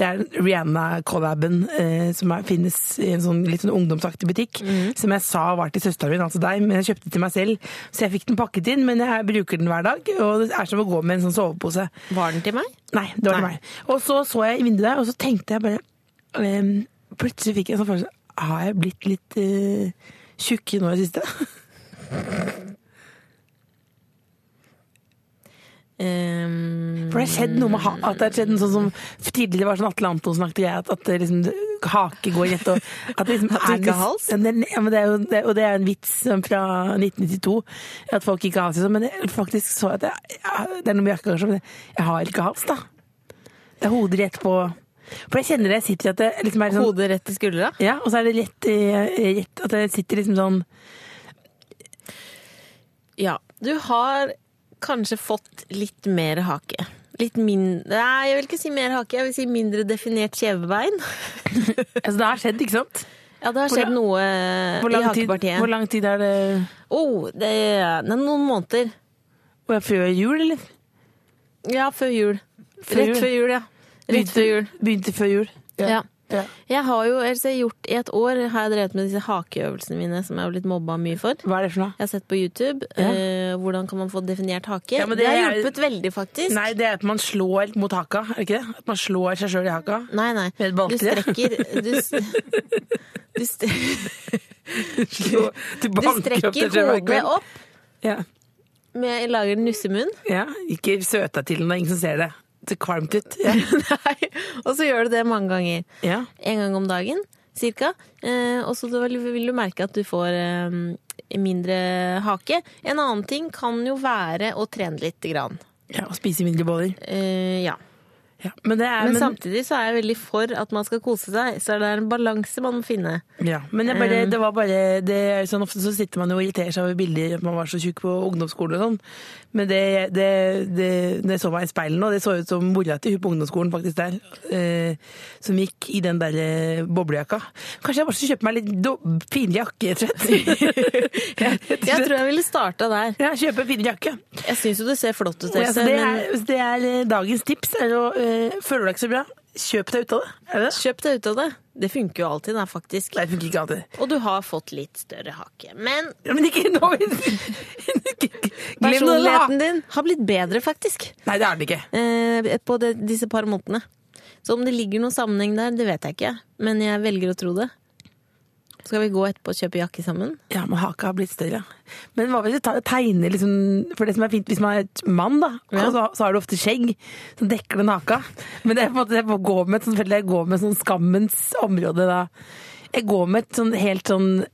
[SPEAKER 4] Det er Rihanna-collaben eh, som er, finnes i en sånn litt sånn ungdomsaktig butikk, som jeg sa var til søsteren min, altså deg, men jeg kjøpte den til meg selv. Så jeg fikk den pakket inn, men jeg bruker den hver dag, og det er som å gå med en sånn sovepose.
[SPEAKER 3] Var den til meg?
[SPEAKER 4] Nei, det var ikke meg. Og så så jeg i vinduet der, og så tenkte jeg bare ehm, Plutselig fikk jeg en sånn følelse Har jeg blitt litt eh, tjukk nå i det siste? (laughs)
[SPEAKER 3] Ehm,
[SPEAKER 4] For det har skjedd noe med ha at det har skjedd en sånn som tidligere var sånn Atle Antonsen-aktig greie, at, at det liksom hake går rett og At, det liksom
[SPEAKER 3] At du ikke
[SPEAKER 4] er litt-
[SPEAKER 3] har hals?
[SPEAKER 4] Ja, men det- ja, men det er jo, det, og det er en vits som fra 1992, at folk ikke har hals. liksom. Men jeg faktisk så jeg at jeg, jeg, det er noe med jakka kanskje, men jeg, jeg har ikke hals, da. Det er hodet rett på For jeg kjenner det, jeg sitter i at det liksom er sånn
[SPEAKER 3] Ehm, Hodet rett i skuldra?
[SPEAKER 4] Ja, og så er det rett, eh, rett at jeg sitter liksom sånn
[SPEAKER 3] Ja. Du har kanskje fått litt mer hake. Litt mindre Nei, jeg vil ikke si mer hake. Jeg vil si mindre definert (laughs) kjevebein.
[SPEAKER 4] Altså, det har skjedd, ikke sant?
[SPEAKER 3] Ja, det har
[SPEAKER 4] Hvor
[SPEAKER 3] skjedd
[SPEAKER 4] lang-
[SPEAKER 3] noe
[SPEAKER 4] Hvor lang,
[SPEAKER 3] i
[SPEAKER 4] tid,
[SPEAKER 3] hakepartiet.
[SPEAKER 4] hvor lang tid er det?
[SPEAKER 3] Oh, det er det er noen måneder.
[SPEAKER 4] Hvor er det Før jul, eller?
[SPEAKER 3] Ja, før jul.
[SPEAKER 4] Før
[SPEAKER 3] Rett
[SPEAKER 4] jul.
[SPEAKER 3] før jul, ja. Rett før jul.
[SPEAKER 4] Begynte før jul.
[SPEAKER 3] Ja.
[SPEAKER 4] Ja.
[SPEAKER 3] Jeg har jo altså, jeg har gjort I et år har jeg drevet med disse hakeøvelsene mine, som jeg har blitt mobba mye for.
[SPEAKER 4] Hva er det for noe?
[SPEAKER 3] Jeg har sett på YouTube
[SPEAKER 4] Ja.
[SPEAKER 3] eh, hvordan kan man få definert hake.
[SPEAKER 4] Ja, men
[SPEAKER 3] det,
[SPEAKER 4] det
[SPEAKER 3] har
[SPEAKER 4] er-
[SPEAKER 3] hjulpet veldig, faktisk.
[SPEAKER 4] Nei, det er at man slår mot haka, er det ikke det? At man slår seg sjøl i
[SPEAKER 3] (laughs)
[SPEAKER 4] haka.
[SPEAKER 3] nei. nei.
[SPEAKER 4] Med
[SPEAKER 3] Du
[SPEAKER 4] balltre.
[SPEAKER 3] strekker Du, s- du, (laughs) st
[SPEAKER 4] Slå- Du,
[SPEAKER 3] du
[SPEAKER 4] banker opp deg
[SPEAKER 3] strekker
[SPEAKER 4] selv hver
[SPEAKER 3] hodet
[SPEAKER 4] kveld.
[SPEAKER 3] opp
[SPEAKER 4] Ja.
[SPEAKER 3] med lager en nussemunn.
[SPEAKER 4] ja. Ikke søt deg til den, det er ingen som ser det. Det ser kvalmt ut.
[SPEAKER 3] (laughs)
[SPEAKER 4] Ja.
[SPEAKER 3] Nei. Og så gjør du det mange ganger.
[SPEAKER 4] ja.
[SPEAKER 3] En gang om dagen, cirka. Eh, og så da vil- vil du merke at du får eh, mindre hake. En annen ting kan jo være å trene lite grann.
[SPEAKER 4] ja og spise mindre boller.
[SPEAKER 3] Eh, ja.
[SPEAKER 4] Ja. Men, det er,
[SPEAKER 3] Men,
[SPEAKER 4] men,
[SPEAKER 3] samtidig så er jeg veldig for at man skal kose seg, så det er en balanse man må finne.
[SPEAKER 4] ja. Eh. men jeg bare, det var bare det, er sånn, Ofte så sitter man jo og irriterer seg over bilder at man var så tjukk på ungdomsskolen og sånn. Men det, det, det, det så meg i speilet nå, det så ut som mora til hun på ungdomsskolen faktisk der. Eh, som gikk i den der eh, boblejakka. Kanskje jeg bare skal kjøpe meg litt do- finere jakke, (laughs) rett og slett.
[SPEAKER 3] Jeg tror jeg ville starta der.
[SPEAKER 4] Ja, kjøpe en fin jakke.
[SPEAKER 3] Jeg syns jo det ser flott ut,
[SPEAKER 4] Ja, så
[SPEAKER 3] Else,
[SPEAKER 4] det,
[SPEAKER 3] men
[SPEAKER 4] er, det er eh, dagens tips. Er å, eh, føler du deg ikke så bra, kjøp deg ut av det. Er det det?
[SPEAKER 3] kjøp deg ut av det. Det funker jo alltid, da, faktisk.
[SPEAKER 4] Nei, det funker ikke alltid.
[SPEAKER 3] Og du har fått litt større hake. Men
[SPEAKER 4] Ja, men ikke nå! Glem det, da!
[SPEAKER 3] personligheten din har blitt bedre, faktisk.
[SPEAKER 4] Nei, det er den ikke.
[SPEAKER 3] eh, på det, disse par månedene. Så om det ligger noen sammenheng der, det vet jeg ikke. Men jeg velger å tro det. Skal vi gå etterpå og kjøpe jakke sammen?
[SPEAKER 4] Ja, men haka har blitt større. Men hva hvis du tar- tegner liksom For det som er fint hvis man er et mann, da,
[SPEAKER 3] Ja.
[SPEAKER 4] og så, så har du ofte skjegg som dekker den haka. Men det er på en måte jeg må gå med et sånt, føler jeg går med et sånn skammens område da. Jeg går med et sånn helt sånn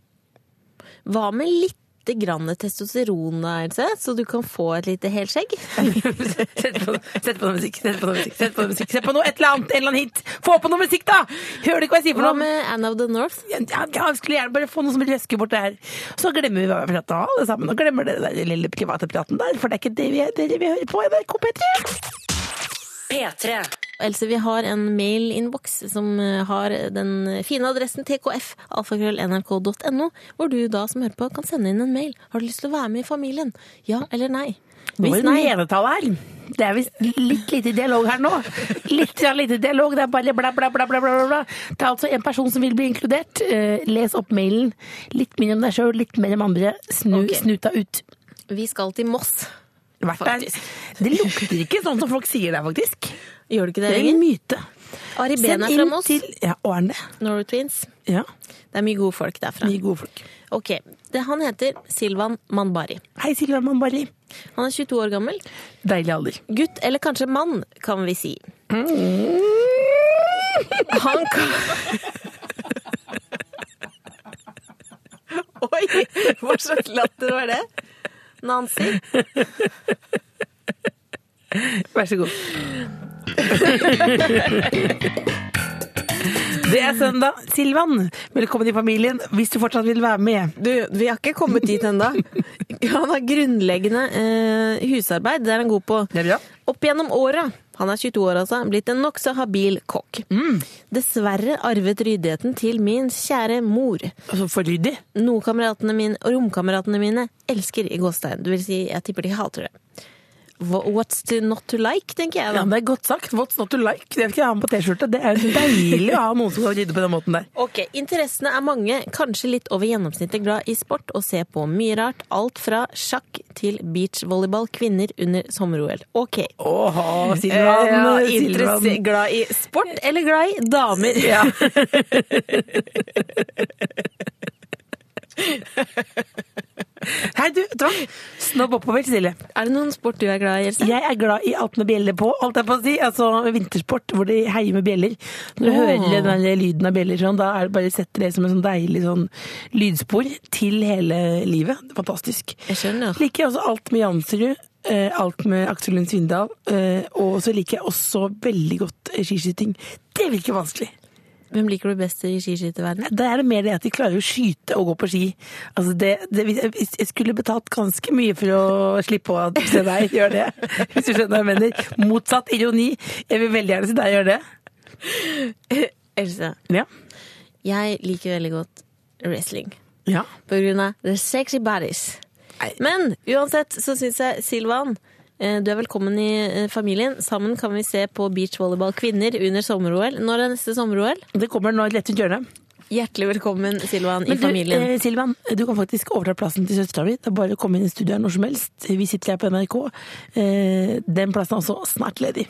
[SPEAKER 3] Hva med lite grann testosteron, da, Else? Så du kan få et lite helskjegg?
[SPEAKER 4] Sett på, sett på noe musikk, sett på noe musikk, sett på noe musikk. Sett på noe, et eller annet, en eller annen hit. Få på noe musikk, da! Hører du ikke hva jeg sier for
[SPEAKER 3] Hva
[SPEAKER 4] noe?
[SPEAKER 3] med Anne of the North?
[SPEAKER 4] Ja, ja, jeg skulle gjerne bare få noe som røsker bort det her. Så glemmer vi hva vi prater om alle sammen, og glemmer det der lille private praten der, for det er ikke det vi, det er det vi hører på i NRK P3.
[SPEAKER 1] P3.
[SPEAKER 3] Else, vi har en mailinnboks som eh, har den fine adressen tkf.nrk.no, hvor du da som hører på kan sende inn en mail. Har du lyst til å være med i familien? Ja eller nei?
[SPEAKER 4] Nå
[SPEAKER 3] Hvis
[SPEAKER 4] er det
[SPEAKER 3] nei,
[SPEAKER 4] noe enetall her. Det er visst litt lite dialog her nå. Litt grann lite dialog, det er bare bla, bla, bla, bla, bla, bla, bla. Det er altså en person som vil bli inkludert. Eh, Les opp mailen. Litt mindre om deg sjøl, litt mer om andre. Snu
[SPEAKER 3] Ok.
[SPEAKER 4] snuta ut.
[SPEAKER 3] vi skal til Moss.
[SPEAKER 4] Vært der. Det lukter ikke sånn som folk sier der, faktisk.
[SPEAKER 3] Gjør du ikke
[SPEAKER 4] Det
[SPEAKER 3] det
[SPEAKER 4] er en
[SPEAKER 3] lenger?
[SPEAKER 4] myte.
[SPEAKER 3] Ari Behn er fra
[SPEAKER 4] Send inn
[SPEAKER 3] Moss.
[SPEAKER 4] til- Ja, og er den det?
[SPEAKER 3] Norway Twins.
[SPEAKER 4] Ja.
[SPEAKER 3] Det er mye gode folk derfra.
[SPEAKER 4] Mye gode folk.
[SPEAKER 3] Ok, det, Han heter Silvan Manbari.
[SPEAKER 4] Hei, Silva Mambari.
[SPEAKER 3] Han er 22 år gammel.
[SPEAKER 4] Deilig alder.
[SPEAKER 3] Gutt, eller kanskje mann, kan vi si. Mm. Han kan Oi! Hva slags latter var det? Nancy?
[SPEAKER 4] Vær så god. (laughs) Det er søndag. Silvan, velkommen i familien hvis du fortsatt vil være med.
[SPEAKER 3] Du, vi har ikke kommet dit ennå. Han har grunnleggende eh, husarbeid, det er han god på.
[SPEAKER 4] Det er bra.
[SPEAKER 3] Opp gjennom åra, han er 22 år altså, blitt en nokså habil kokk. Dessverre arvet ryddigheten til min kjære mor.
[SPEAKER 4] Altså, for ryddig.
[SPEAKER 3] Noe kameratene mine, romkameratene mine elsker i gåstein. Du vil si, jeg tipper de hater det. Wha- What's to not to like, tenker jeg
[SPEAKER 4] Ja,
[SPEAKER 3] da.
[SPEAKER 4] men det er godt sagt. What's not to like? Det vil ikke jeg ha med på T-skjorte. Det er deilig å ha noen som kan rydde på den måten der.
[SPEAKER 3] Ok, Interessene er mange, kanskje litt over gjennomsnittet glad i sport og ser på mye rart. Alt fra sjakk til beachvolleyball kvinner under sommer-OL. Ok.
[SPEAKER 4] Åh,
[SPEAKER 3] Eh,
[SPEAKER 4] Silvan.
[SPEAKER 3] ja,
[SPEAKER 4] Silvan.
[SPEAKER 3] interesse- glad i sport eller glad i damer?
[SPEAKER 4] (laughs) Ja. Hei, du, vet du hva? Snobb oppover, Silje.
[SPEAKER 3] Er det noen sport du er glad i, Else?
[SPEAKER 4] Jeg er glad i alt med bjeller på, alt jeg på å si. Altså vintersport hvor de heier med bjeller. Når du hører den der lyden av bjeller sånn, da er det bare setter det som en sånn deilig sånn lydspor til hele livet. Fantastisk.
[SPEAKER 3] Jeg skjønner.
[SPEAKER 4] Liker jeg også alt med Jansrud. eh, Alt med Aksel Lund Svindal. eh, Og så liker jeg også veldig godt eh, skiskyting. Det virker vanskelig.
[SPEAKER 3] Hvem liker du best i skiskytterverdenen?
[SPEAKER 4] Der er det mer det at de klarer å skyte og gå på ski. Altså det, det, hvis- jeg skulle betalt ganske mye for å slippe å se deg gjøre det. (laughs) Hvis du skjønner hva jeg mener. Motsatt ironi. Jeg vil veldig gjerne se deg gjøre det.
[SPEAKER 3] (laughs) Else,
[SPEAKER 4] Ja.
[SPEAKER 3] jeg liker veldig godt wrestling.
[SPEAKER 4] ja.
[SPEAKER 3] På grunn av the sexy bodies.
[SPEAKER 4] Nei.
[SPEAKER 3] Men uansett så syns jeg Silvan eh, du er velkommen i eh, familien. Sammen kan vi se på beachvolleyball kvinner under sommer-OL. Når er neste sommer-OL?
[SPEAKER 4] Det kommer nå rett rundt hjørnet.
[SPEAKER 3] Hjertelig velkommen, Silvan, i
[SPEAKER 4] Men
[SPEAKER 3] familien.
[SPEAKER 4] Du, eh, Silvan, du kan faktisk overta plassen til søstera mi. Det er bare å komme inn i studioet når som helst. Vi sitter her på NRK. Eh, Den plassen er også snart ledig.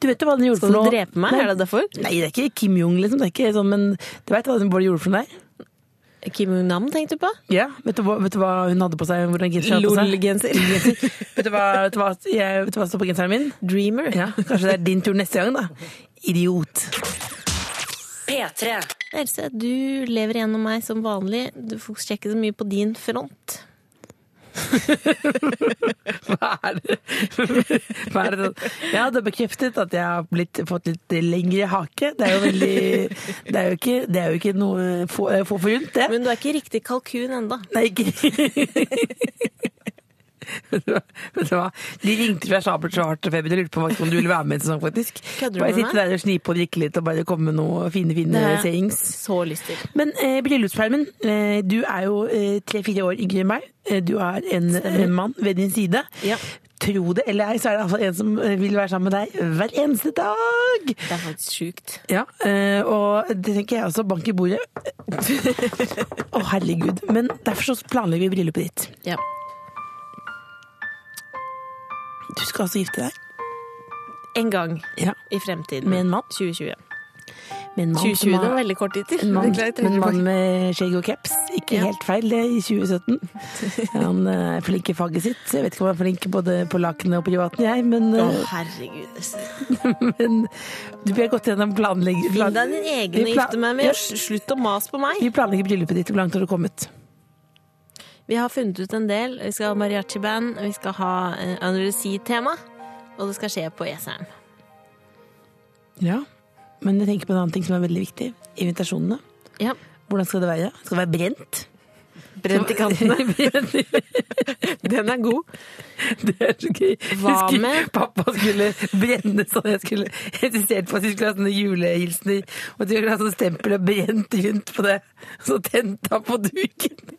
[SPEAKER 4] Du vet jo hva den
[SPEAKER 3] Skal
[SPEAKER 4] gjorde for
[SPEAKER 3] du
[SPEAKER 4] noe?
[SPEAKER 3] drepe meg?
[SPEAKER 4] Nei.
[SPEAKER 3] Er det derfor?
[SPEAKER 4] Nei, det er ikke Kim Jong, liksom. Det er ikke sånn, men du vet hva den bare gjorde for noe der?
[SPEAKER 3] Kim Jong-nam, tenkte du på?
[SPEAKER 4] Ja, vet du, hva, vet du hva hun hadde på seg? Hvordan genser hun hadde på seg?
[SPEAKER 3] LOL-genser. (laughs)
[SPEAKER 4] (laughs) Vet du hva, vet du hva, jeg, vet du hva som står på genseren min?
[SPEAKER 3] Dreamer.
[SPEAKER 4] Ja, kanskje det er din tur neste gang, da. Idiot. (laughs)
[SPEAKER 1] P3.
[SPEAKER 3] Else, du lever gjennom meg som vanlig. Du fokuserer ikke så mye på din front.
[SPEAKER 4] Hva er det? Hva er det? Ja, det er bekreftet at jeg har blitt, fått litt lengre hake. Det er jo veldig Det er jo ikke, det er jo ikke noe få, få forunt, det.
[SPEAKER 3] Men du er ikke riktig kalkun enda.
[SPEAKER 4] Nei, ikke Vet du hva? Vet du hva? De ringte fra Sabelt så hardt og feber og lurte på om du ville være med i en sesong, faktisk.
[SPEAKER 3] Kødder du
[SPEAKER 4] Bare
[SPEAKER 3] med
[SPEAKER 4] sitte
[SPEAKER 3] meg?
[SPEAKER 4] der og snipe og drikke litt og bare komme med noen fine,
[SPEAKER 3] Det
[SPEAKER 4] fine
[SPEAKER 3] har jeg
[SPEAKER 4] sayings.
[SPEAKER 3] så lyst til.
[SPEAKER 4] Men eh, bryllupspermen, eh, du er jo eh, tre-fire år yngre enn meg. Eh, Du har en, en mann ved din side.
[SPEAKER 3] Ja.
[SPEAKER 4] Tro det eller ei, så er det altså en som eh, vil være sammen med deg hver eneste dag.
[SPEAKER 3] Det er faktisk sjukt.
[SPEAKER 4] Ja, eh, og det tenker jeg også. Bank i bordet. (laughs) Å, herregud. Men derfor så planlegger vi bryllupet ditt.
[SPEAKER 3] Ja.
[SPEAKER 4] Du skal altså gifte deg
[SPEAKER 3] En gang
[SPEAKER 4] ja.
[SPEAKER 3] i fremtiden.
[SPEAKER 4] Med en mann?
[SPEAKER 3] 2020.
[SPEAKER 4] med en mann
[SPEAKER 3] 2020
[SPEAKER 4] som
[SPEAKER 3] det
[SPEAKER 4] har-
[SPEAKER 3] var veldig kort tid til.
[SPEAKER 4] en mann,
[SPEAKER 3] Beklager,
[SPEAKER 4] med en mann
[SPEAKER 3] Trine.
[SPEAKER 4] med skjegg og caps. Ikke
[SPEAKER 3] Ja.
[SPEAKER 4] helt feil, det, i (laughs) 2017. Han eh, er flink i faget sitt. så Jeg vet ikke om han er flink både på lakenet og privaten, jeg, men,
[SPEAKER 3] Å,
[SPEAKER 4] eh,
[SPEAKER 3] herregud.
[SPEAKER 4] (laughs) men du, vi har gått gjennom planlegging.
[SPEAKER 3] Finn deg din egen å
[SPEAKER 4] Vi plan-
[SPEAKER 3] gifte meg med.
[SPEAKER 4] Ja.
[SPEAKER 3] og Slutt å mase på meg.
[SPEAKER 4] Vi planlegger bryllupet ditt. Hvor langt har du kommet?
[SPEAKER 3] Vi har funnet ut en del. Vi skal ha mariachi-band, vi skal ha eh, anoreksi-tema, og det skal skje på E Jessheim.
[SPEAKER 4] Ja. Men jeg tenker på en annen ting som er veldig viktig. Invitasjonene.
[SPEAKER 3] Ja.
[SPEAKER 4] Hvordan skal det være? Skal det være brent?
[SPEAKER 3] (laughs) Brent i kantene. (laughs) Den er god.
[SPEAKER 4] Det er så gøy.
[SPEAKER 3] Hva
[SPEAKER 4] Husker
[SPEAKER 3] med-
[SPEAKER 4] Pappa skulle brenne sånn. Jeg skulle insistert på at vi skulle ha sånne julehilsener. Og de skulle ha sånn stempel og brent rundt på det. Så tente han på duken.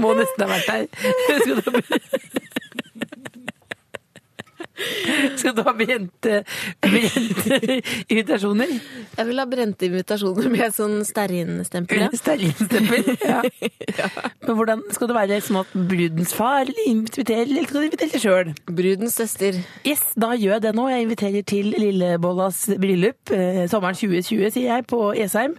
[SPEAKER 4] Må nesten ha vært der. Skal du ha Skal du ha brente, brente invitasjoner?
[SPEAKER 3] Jeg vil ha brente invitasjoner med sånn stearinstempel. ja.
[SPEAKER 4] Stearinstempel? Ja. Men hvordan skal det være sånn at brudens far inviterer, eller skal du invitere deg sjøl?
[SPEAKER 3] Brudens søster.
[SPEAKER 4] Yes, da gjør jeg det nå. Jeg inviterer til Lillebollas bryllup eh, sommeren 2020, sier jeg, på Jessheim.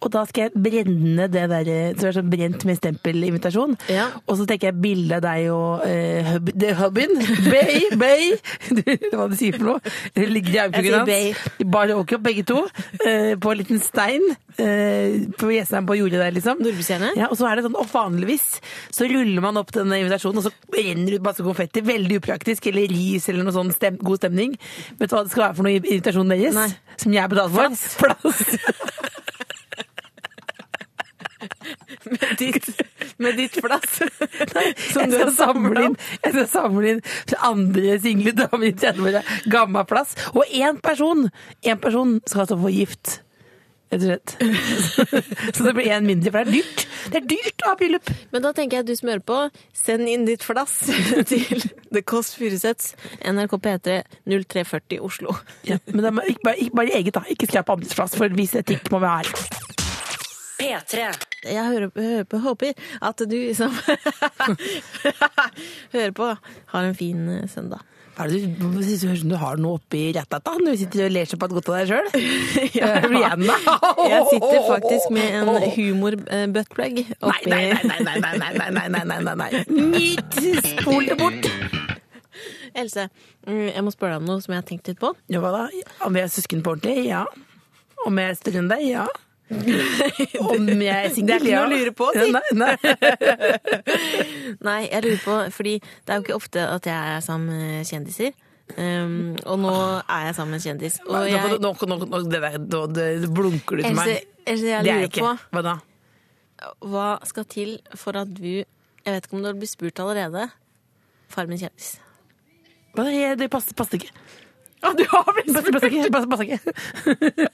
[SPEAKER 4] Og da skal jeg brenne det der eh, som er sånn brent med stempelinvitasjon.
[SPEAKER 3] Ja.
[SPEAKER 4] Og så tenker jeg bilde av deg og eh, hub, det er hubben. Bay, bay! (laughs) Du vet hva du sier for noe? Det ligger i
[SPEAKER 3] Jeg sier
[SPEAKER 4] armkroken
[SPEAKER 3] bay.
[SPEAKER 4] hans. De bar åker opp begge to eh, på en liten stein eh, på Jessheim på jordet der, liksom.
[SPEAKER 3] Nordbystjerne?
[SPEAKER 4] Ja, og så er det sånn, og vanligvis så ruller man opp denne invitasjonen, og så renner det ut masse konfetti. Veldig upraktisk. Eller ris, eller noe sånn stem god stemning. Vet du hva det skal være for noe i invitasjonen deres?
[SPEAKER 3] Nei.
[SPEAKER 4] Som jeg betaler for? Plass.
[SPEAKER 3] (laughs) Med ditt, med ditt
[SPEAKER 4] (laughs)
[SPEAKER 3] plass. (laughs)
[SPEAKER 4] Som du skal samle inn. Jeg skal samle inn andre single damer i 30-åra. Gamma plass. Og én person! Én person skal altså få gift. Rett og slett. (laughs) Så det blir én mindre, for det er dyrt. Det er dyrt å ha bryllup.
[SPEAKER 3] Men da tenker jeg at du som hører på, send inn ditt flass (laughs) til The Kåss Furuseths, NRK P3 0340 Oslo.
[SPEAKER 4] Ja, men det må, ikke, bare, ikke bare eget, da. Ikke skrap andres plass, for hvis etikk må være
[SPEAKER 1] P3.
[SPEAKER 3] Jeg hører, hører på, håper at du som (laughs) hører på, har en fin eh, søndag. (laughs)
[SPEAKER 4] Hva er det du hvorfor synes du høres ut som du har noe oppi rattata når du sitter og ler så på godt av deg sjøl? Rihanna!
[SPEAKER 3] Jeg sitter faktisk med en humor-buttplug
[SPEAKER 4] Nei,
[SPEAKER 3] oppi
[SPEAKER 4] nei,
[SPEAKER 3] (laughs)
[SPEAKER 4] nei, nei, nei, nei, nei, nei, nei, nei, nei, nei. Nyt! Spol det bort!
[SPEAKER 3] Else, mm, jeg må spørre deg om noe som jeg har tenkt litt på.
[SPEAKER 4] Ja, hva da? Om jeg er søsken på ordentlig? Ja. Om jeg er større enn deg? (laughs) Ja. Om jeg
[SPEAKER 3] Det er
[SPEAKER 4] er singel?
[SPEAKER 3] ikke
[SPEAKER 4] Ja.
[SPEAKER 3] noe å lure på, si.
[SPEAKER 4] Nei, nei.
[SPEAKER 3] Nei, jeg lurer på, fordi det er jo ikke ofte at jeg er sammen med kjendiser. Um, og nå er jeg sammen med en kjendis. Og
[SPEAKER 4] Nå,
[SPEAKER 3] jeg,
[SPEAKER 4] nå, nå, nå, nå, det der, nå det blunker du til meg.
[SPEAKER 3] Else, Else, jeg
[SPEAKER 4] det er
[SPEAKER 3] lurer
[SPEAKER 4] ikke
[SPEAKER 3] på
[SPEAKER 4] Hva da?
[SPEAKER 3] hva skal til for at du Jeg vet ikke om du har blitt spurt allerede. Farmen kjendis.
[SPEAKER 4] Hva da? Jeg- eh, Det passer, passer ikke. Ah, du har blitt spurt! Passer ikke. Passer, passer ikke.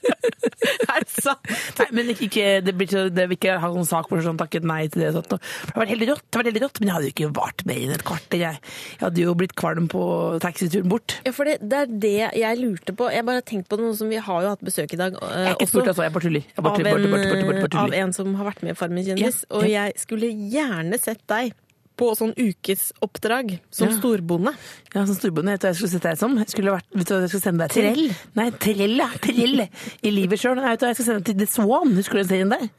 [SPEAKER 4] (laughs) er det sant? Nei, men ikke, ikke, det blir ikke, det vil ikke ha noen sak hvor sånn takket nei til det. og Sånt. og Det har vært helt rått, det har vært helt rått, men jeg hadde jo ikke vart mer enn et kvarter. Jeg, jeg hadde jo blitt kvalm på taxituren bort.
[SPEAKER 3] Ja, for det, det er det jeg lurte på. Jeg bare har tenkt på noe som Vi har jo hatt besøk i dag. eh,
[SPEAKER 4] Jeg er ikke
[SPEAKER 3] også.
[SPEAKER 4] spurt, altså. Jeg bare tuller. Jeg bare
[SPEAKER 3] av
[SPEAKER 4] tuller,
[SPEAKER 3] en,
[SPEAKER 4] bare tuller, bare tuller, bare
[SPEAKER 3] av
[SPEAKER 4] tuller.
[SPEAKER 3] en som har vært med i Farmen kjendis.
[SPEAKER 4] Ja,
[SPEAKER 3] Og
[SPEAKER 4] ja.
[SPEAKER 3] jeg skulle gjerne sett deg på sånn ukesoppdrag som
[SPEAKER 4] Ja.
[SPEAKER 3] storbonde.
[SPEAKER 4] Ja, som sånn storbonde, vet du hva jeg skulle sett deg som? Jeg skulle vært, vet du hva jeg skulle sende deg til?
[SPEAKER 3] Trell?
[SPEAKER 4] Nei, trell, ja. Trell. I livet sjøl. Vet du hva jeg skulle sende deg til? The Swan. Husker du den serien der?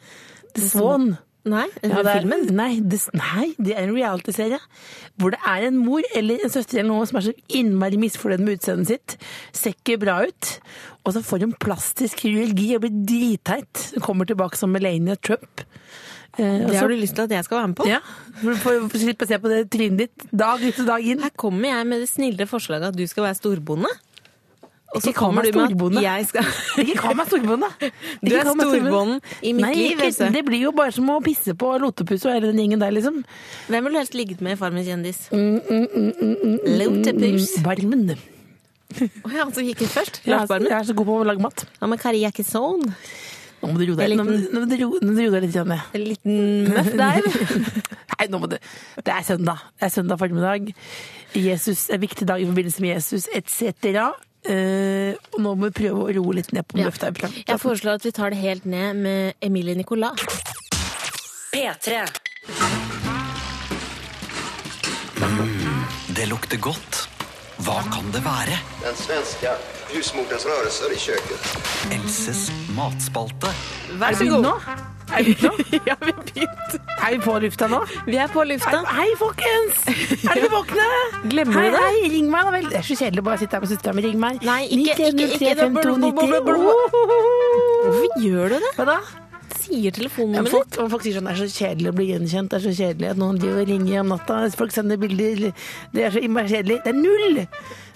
[SPEAKER 4] The Swan.
[SPEAKER 3] Nei,
[SPEAKER 4] Ja, det er,
[SPEAKER 3] filmen.
[SPEAKER 4] Nei det, nei, det er en reality-serie hvor det er en mor eller en søster eller noen som er så innmari misfornøyd med utseendet sitt. Ser ikke bra ut. Og så får hun plastisk kirurgi og blir dritteit. Hun Kommer tilbake som Melania Trump. Eh, og
[SPEAKER 3] Det
[SPEAKER 4] så-
[SPEAKER 3] har du lyst til at jeg skal være med på?
[SPEAKER 4] ja, for- for å slippe å se på det trynet ditt dag ut og dag inn.
[SPEAKER 3] Her kommer jeg med det snille forslaget at du skal være storbonde. Og så
[SPEAKER 4] Ikke kall
[SPEAKER 3] kommer
[SPEAKER 4] meg
[SPEAKER 3] du med
[SPEAKER 4] storbonde.
[SPEAKER 3] at jeg skal
[SPEAKER 4] Ikke kall meg storbonde!
[SPEAKER 3] (laughs) Du
[SPEAKER 4] Ikke
[SPEAKER 3] er
[SPEAKER 4] kall meg
[SPEAKER 3] storbonden
[SPEAKER 4] storbonde.
[SPEAKER 3] i mitt
[SPEAKER 4] Nei,
[SPEAKER 3] liv,
[SPEAKER 4] ikke-
[SPEAKER 3] Else.
[SPEAKER 4] Det blir jo bare som å pisse på Lotepus og hele den gjengen der, liksom.
[SPEAKER 3] Hvem ville du helst ligget med i Farmen kjendis? mm, Lotepus.
[SPEAKER 4] Varmen.
[SPEAKER 3] Å ja, han som gikk ut først?
[SPEAKER 4] Jeg er,
[SPEAKER 3] Lappvarmen?
[SPEAKER 4] jeg er så god på å lage mat.
[SPEAKER 3] Ja, men Kari er ikke sånn.
[SPEAKER 4] Nå må du
[SPEAKER 3] Jeg
[SPEAKER 4] roe deg,
[SPEAKER 3] likte
[SPEAKER 4] nå må, nå må du roe, nå må du roe deg litt. Janne.
[SPEAKER 3] En liten møff (laughs) der.
[SPEAKER 4] (laughs) Nei, nå må du. Det er søndag. Det er søndag formiddag. Jesus, en viktig dag i forbindelse med Jesus etc. Eh, og nå må vi prøve å roe litt ned på løfta.
[SPEAKER 3] Jeg foreslår at vi tar det helt ned med Emilie Nicolas.
[SPEAKER 1] P3.
[SPEAKER 2] Det lukter godt. Hva kan det være?
[SPEAKER 7] Den svenska husmoderns rörelser i köket.
[SPEAKER 2] Elses matspalte.
[SPEAKER 3] Vær
[SPEAKER 4] Er vi nå? Er vi, nå?
[SPEAKER 3] (laughs) Ja, vi har begynt.
[SPEAKER 4] Er vi på lufta nå?
[SPEAKER 3] Vi er på lufta.
[SPEAKER 4] Hei, folkens! Er dere våkne?
[SPEAKER 3] Glemmer
[SPEAKER 4] hei,
[SPEAKER 3] du det?
[SPEAKER 4] Hei, ring meg, da vel. Det er så kjedelig å bare sitte her med søstera mi. Ring meg.
[SPEAKER 3] Nei, ikke- ikke- ikke-
[SPEAKER 4] 91035290.
[SPEAKER 3] Hvorfor gjør du det?
[SPEAKER 4] Hva da?
[SPEAKER 3] Sier
[SPEAKER 4] Ja,
[SPEAKER 3] telefonnummeret ditt.
[SPEAKER 4] folk, folk sier sånn, det er så kjedelig å bli gjenkjent, det er så kjedelig at noen driver og ringer om natta, folk sender bilder, det er så innmari kjedelig. Det er null!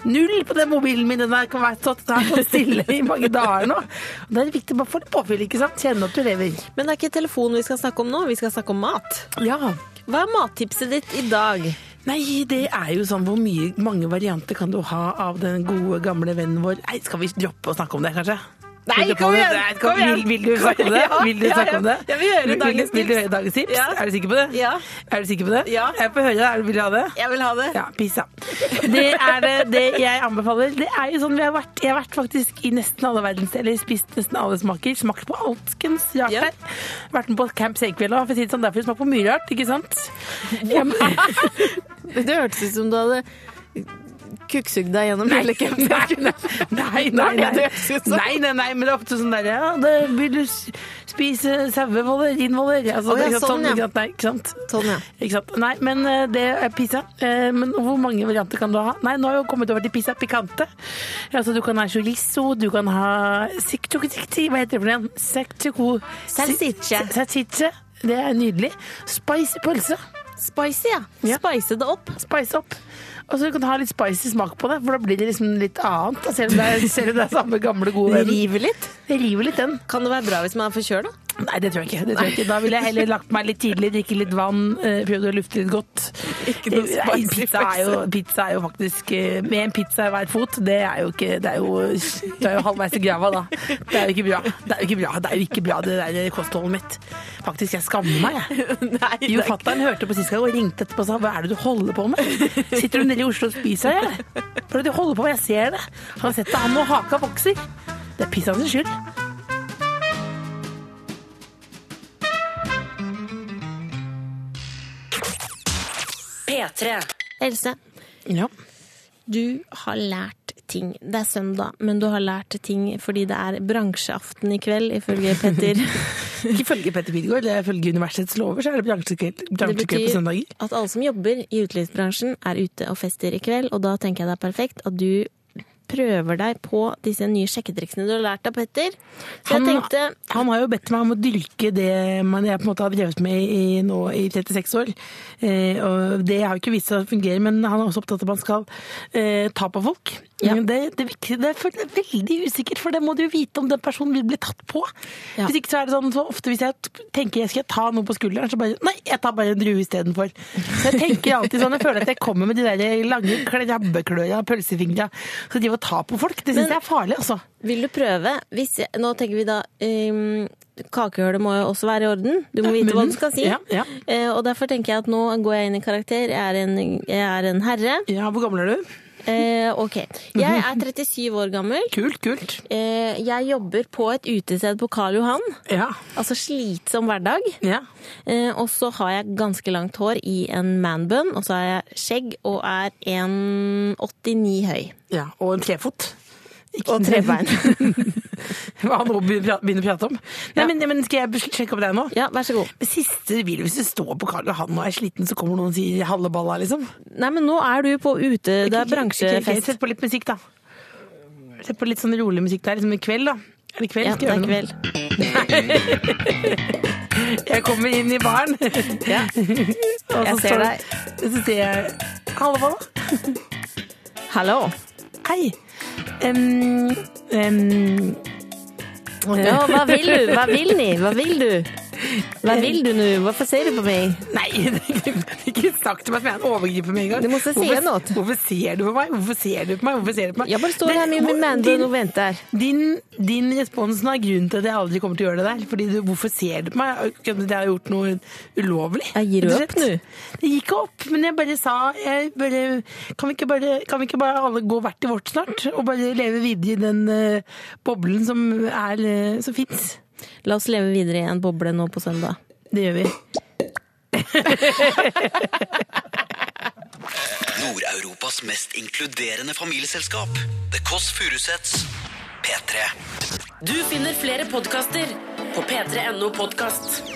[SPEAKER 4] Null på den mobilen min, den der kan være stått den har stått stille i mange dager nå. Og det er viktig bare å få litt påfyll, ikke sant? Kjenne at du lever.
[SPEAKER 3] Men det er ikke telefon vi skal snakke om nå, vi skal snakke om mat.
[SPEAKER 4] Ja.
[SPEAKER 3] Hva er mattipset ditt i dag?
[SPEAKER 4] Nei, det er jo sånn, hvor mye, mange varianter kan du ha av den gode, gamle vennen vår? Nei, skal vi droppe å snakke om det, kanskje?
[SPEAKER 3] Nei,
[SPEAKER 4] Droppe
[SPEAKER 3] kom
[SPEAKER 4] om det?
[SPEAKER 3] igjen,
[SPEAKER 4] Nei, skal-
[SPEAKER 3] kom igjen.
[SPEAKER 4] Vil, vil du snakke om det?
[SPEAKER 3] Ja,
[SPEAKER 4] Vil du
[SPEAKER 3] ja,
[SPEAKER 4] snakke
[SPEAKER 3] ja.
[SPEAKER 4] om det?
[SPEAKER 3] Jeg vil høre
[SPEAKER 4] Vil-
[SPEAKER 3] dagens
[SPEAKER 4] Vil du
[SPEAKER 3] tips.
[SPEAKER 4] høre dagens tips?
[SPEAKER 3] Ja.
[SPEAKER 4] Er du sikker på det?
[SPEAKER 3] Ja.
[SPEAKER 4] Er du sikker på det?
[SPEAKER 3] Ja.
[SPEAKER 4] Jeg får høre det. Er du- Vil du ha det?
[SPEAKER 3] Jeg vil ha det.
[SPEAKER 4] Ja, pizza. Det er det, det jeg anbefaler. Det er jo sånn vi har vært, Jeg har vært faktisk i nesten alle verdensdeler, spist nesten alle smaker, smakt på alskens rart
[SPEAKER 3] Ja.
[SPEAKER 4] her. Vært med på Camp Senkveld òg, for å si det sånn. Derfor har vi smakt på mye rart, ikke sant? Ja, men-
[SPEAKER 3] Det hørtes ut som du hadde kukksugd deg gjennom
[SPEAKER 4] Nei,
[SPEAKER 3] hele
[SPEAKER 4] nei, nei, nei, nei,
[SPEAKER 3] Nei,
[SPEAKER 4] nei.
[SPEAKER 3] det høres ut som- sånn.
[SPEAKER 4] nei, nei, nei, men det er ofte sånn der ja, det Vil du s- spise sauevoller, rindvoller? Altså,
[SPEAKER 3] Å, ja,
[SPEAKER 4] ikke sant,
[SPEAKER 3] sånn, ja.
[SPEAKER 4] ikke sant? Nei, ikke sant?
[SPEAKER 3] Sånn, ja.
[SPEAKER 4] Ikke sant? Nei, men eh, det er pizza. Eh, Men hvor mange varianter kan du ha? Nei, nå har jeg jo kommet over til pizza picante. Altså, du kan ha chorizo, du kan ha sikchoktikti, hva heter det for noe igjen? Sikchoko...
[SPEAKER 3] Salsicce.
[SPEAKER 4] Salsicce. Det er nydelig. Spicy pølse.
[SPEAKER 3] Spicy, ja.
[SPEAKER 4] Ja.
[SPEAKER 3] Spice det opp.
[SPEAKER 4] Spice opp. Og så kan du ha litt spicy smak på det, for da blir det liksom litt annet. Da, selv, om det er, selv om det er samme gamle, gode
[SPEAKER 3] Det
[SPEAKER 4] vennen.
[SPEAKER 3] river litt.
[SPEAKER 4] Det river litt, den.
[SPEAKER 3] Kan det være bra hvis man er forkjøla?
[SPEAKER 4] Nei, det tror jeg ikke. Det tror jeg ikke. Da ville jeg heller lagt meg litt tidlig, drikke litt vann, eh, prøvd å lufte litt godt.
[SPEAKER 3] Ikke noe
[SPEAKER 4] Nei,
[SPEAKER 3] spicy
[SPEAKER 4] pizza er, jo, pizza er jo faktisk eh, Med en pizza i hver fot, det er jo ikke Det er jo, det er jo halvveis i grava, da. Det er jo ikke bra. Det er jo ikke bra, det, er jo ikke bra, det der kostholdet mitt. Faktisk, jeg skammer meg, jeg.
[SPEAKER 3] Nei,
[SPEAKER 4] Jo, fatter'n hørte på sist gang og ringte etterpå og sa hva er det du holder på med? Sitter du nede i Oslo og spiser, eller? Hva er det du holder på med? Jeg ser det. Han har sett det, han og haka vokser. Det er pizzaen sin skyld.
[SPEAKER 1] P3.
[SPEAKER 3] Else,
[SPEAKER 4] Ja.
[SPEAKER 3] du har lært ting. Det er søndag, men du har lært ting fordi det er bransjeaften i kveld,
[SPEAKER 4] (laughs)
[SPEAKER 3] ifølge Petter.
[SPEAKER 4] Ikke følge Petter Pilgaard, det er følge universets lover, så er det bransjekveld bransjekveld på søndager.
[SPEAKER 3] at alle som jobber i utelivsbransjen, er ute og fester i kveld, og da tenker jeg det er perfekt at du prøver deg på disse nye sjekketriksene du har lært av Petter. Så jeg
[SPEAKER 4] Han-
[SPEAKER 3] tenkte
[SPEAKER 4] Han har jo bedt meg om å dyrke det man jeg på en måte har drevet med i, i, nå i 36 år. Eh, og det har jo ikke vist seg å fungere, men han er også opptatt av at man skal eh, ta på folk.
[SPEAKER 3] Ja.
[SPEAKER 4] Men Det, det, virker- det er for- det er veldig usikkert, for det må du jo vite om den personen vil bli tatt på.
[SPEAKER 3] Ja.
[SPEAKER 4] Hvis ikke så er det sånn så ofte hvis jeg t- tenker jeg skal ta noe på skulderen, så bare Nei, jeg tar bare en drue istedenfor. Så jeg tenker alltid sånn, jeg føler at jeg kommer med de der lange krabbekløra, pølsefingra. Så de å ta på folk, det syns jeg er farlig, altså.
[SPEAKER 3] Vil du prøve? Hvis jeg, nå tenker vi da um, Kakehølet må jo også være i orden. Du må vite hva du skal si.
[SPEAKER 4] Ja, ja.
[SPEAKER 3] Eh, og derfor tenker jeg at nå går jeg inn i karakter. Jeg er en, jeg er en herre.
[SPEAKER 4] Ja, hvor gammel er du?
[SPEAKER 3] Eh, ok. Jeg er 37 år gammel.
[SPEAKER 4] Kult, kult.
[SPEAKER 3] Eh, jeg jobber på et utested på Karl Johan.
[SPEAKER 4] Ja.
[SPEAKER 3] Altså slitsom hverdag.
[SPEAKER 4] ja.
[SPEAKER 3] Eh, og så har jeg ganske langt hår i en manbun, og så har jeg skjegg og er 1,89 høy.
[SPEAKER 4] Ja, og en trefot. Ikke-
[SPEAKER 3] Og trebein.
[SPEAKER 4] (laughs) Hva han nå begynner å pra- begynner å prate om. Nei, men, men Skal jeg bes- sjekke opp deg nå?
[SPEAKER 3] Ja, vær så god.
[SPEAKER 4] Siste hvil, hvis du står på Karl Johan og er sliten, så kommer noen og sier halve balla, liksom.
[SPEAKER 3] Nei, men nå er du på ute. Det er
[SPEAKER 4] Ok, ok,
[SPEAKER 3] bransjefest.
[SPEAKER 4] Sett på litt musikk, da. Sett på litt sånn rolig musikk. Det er liksom i kveld, da. Er det kveld?
[SPEAKER 3] Ja,
[SPEAKER 4] Skal
[SPEAKER 3] det er
[SPEAKER 4] jeg gjøre
[SPEAKER 3] kveld.
[SPEAKER 4] noe? Jeg kommer inn i baren,
[SPEAKER 3] (laughs) Ja.
[SPEAKER 4] (laughs) og så
[SPEAKER 3] Jeg ser
[SPEAKER 4] står
[SPEAKER 3] deg.
[SPEAKER 4] Så sier jeg halve balla.
[SPEAKER 3] Hallo.
[SPEAKER 4] Hei. Um, um,
[SPEAKER 3] Ja, hva vil du? Hva vil ni? Hva vil du? (laughs) Hva vil du nå? Hvorfor ser du på meg?
[SPEAKER 4] Nei, (laughs) ikke snakk til meg som jeg er en overgriper med en gang.
[SPEAKER 3] Du må så si
[SPEAKER 4] hvorfor,
[SPEAKER 3] noe.
[SPEAKER 4] Hvorfor ser du på meg? Hvorfor ser du på meg? Hvorfor ser du på meg?
[SPEAKER 3] Jeg bare står
[SPEAKER 4] Men
[SPEAKER 3] her med min
[SPEAKER 4] hvor-
[SPEAKER 3] manbun og venter.
[SPEAKER 4] Din, din, din respons nå er grunnen til at jeg aldri kommer til å gjøre det der. Fordi du, hvorfor ser du på meg? Kunne jeg ha gjort noe ulovlig?
[SPEAKER 3] Jeg gir
[SPEAKER 4] rett og
[SPEAKER 3] opp
[SPEAKER 4] slett.
[SPEAKER 3] nå.
[SPEAKER 4] Det gikk opp, men jeg bare sa jeg bare, kan, vi ikke bare, kan vi ikke bare alle gå hvert til vårt snart? Og bare leve videre i den eh, boblen som, er, eh, som fins?
[SPEAKER 3] La oss leve videre i en boble nå på søndag.
[SPEAKER 4] Det gjør vi.
[SPEAKER 2] Nord-Europas mest inkluderende familieselskap. The Kåss Furuseths. P3.
[SPEAKER 1] Du finner flere podkaster på p3.no podkast.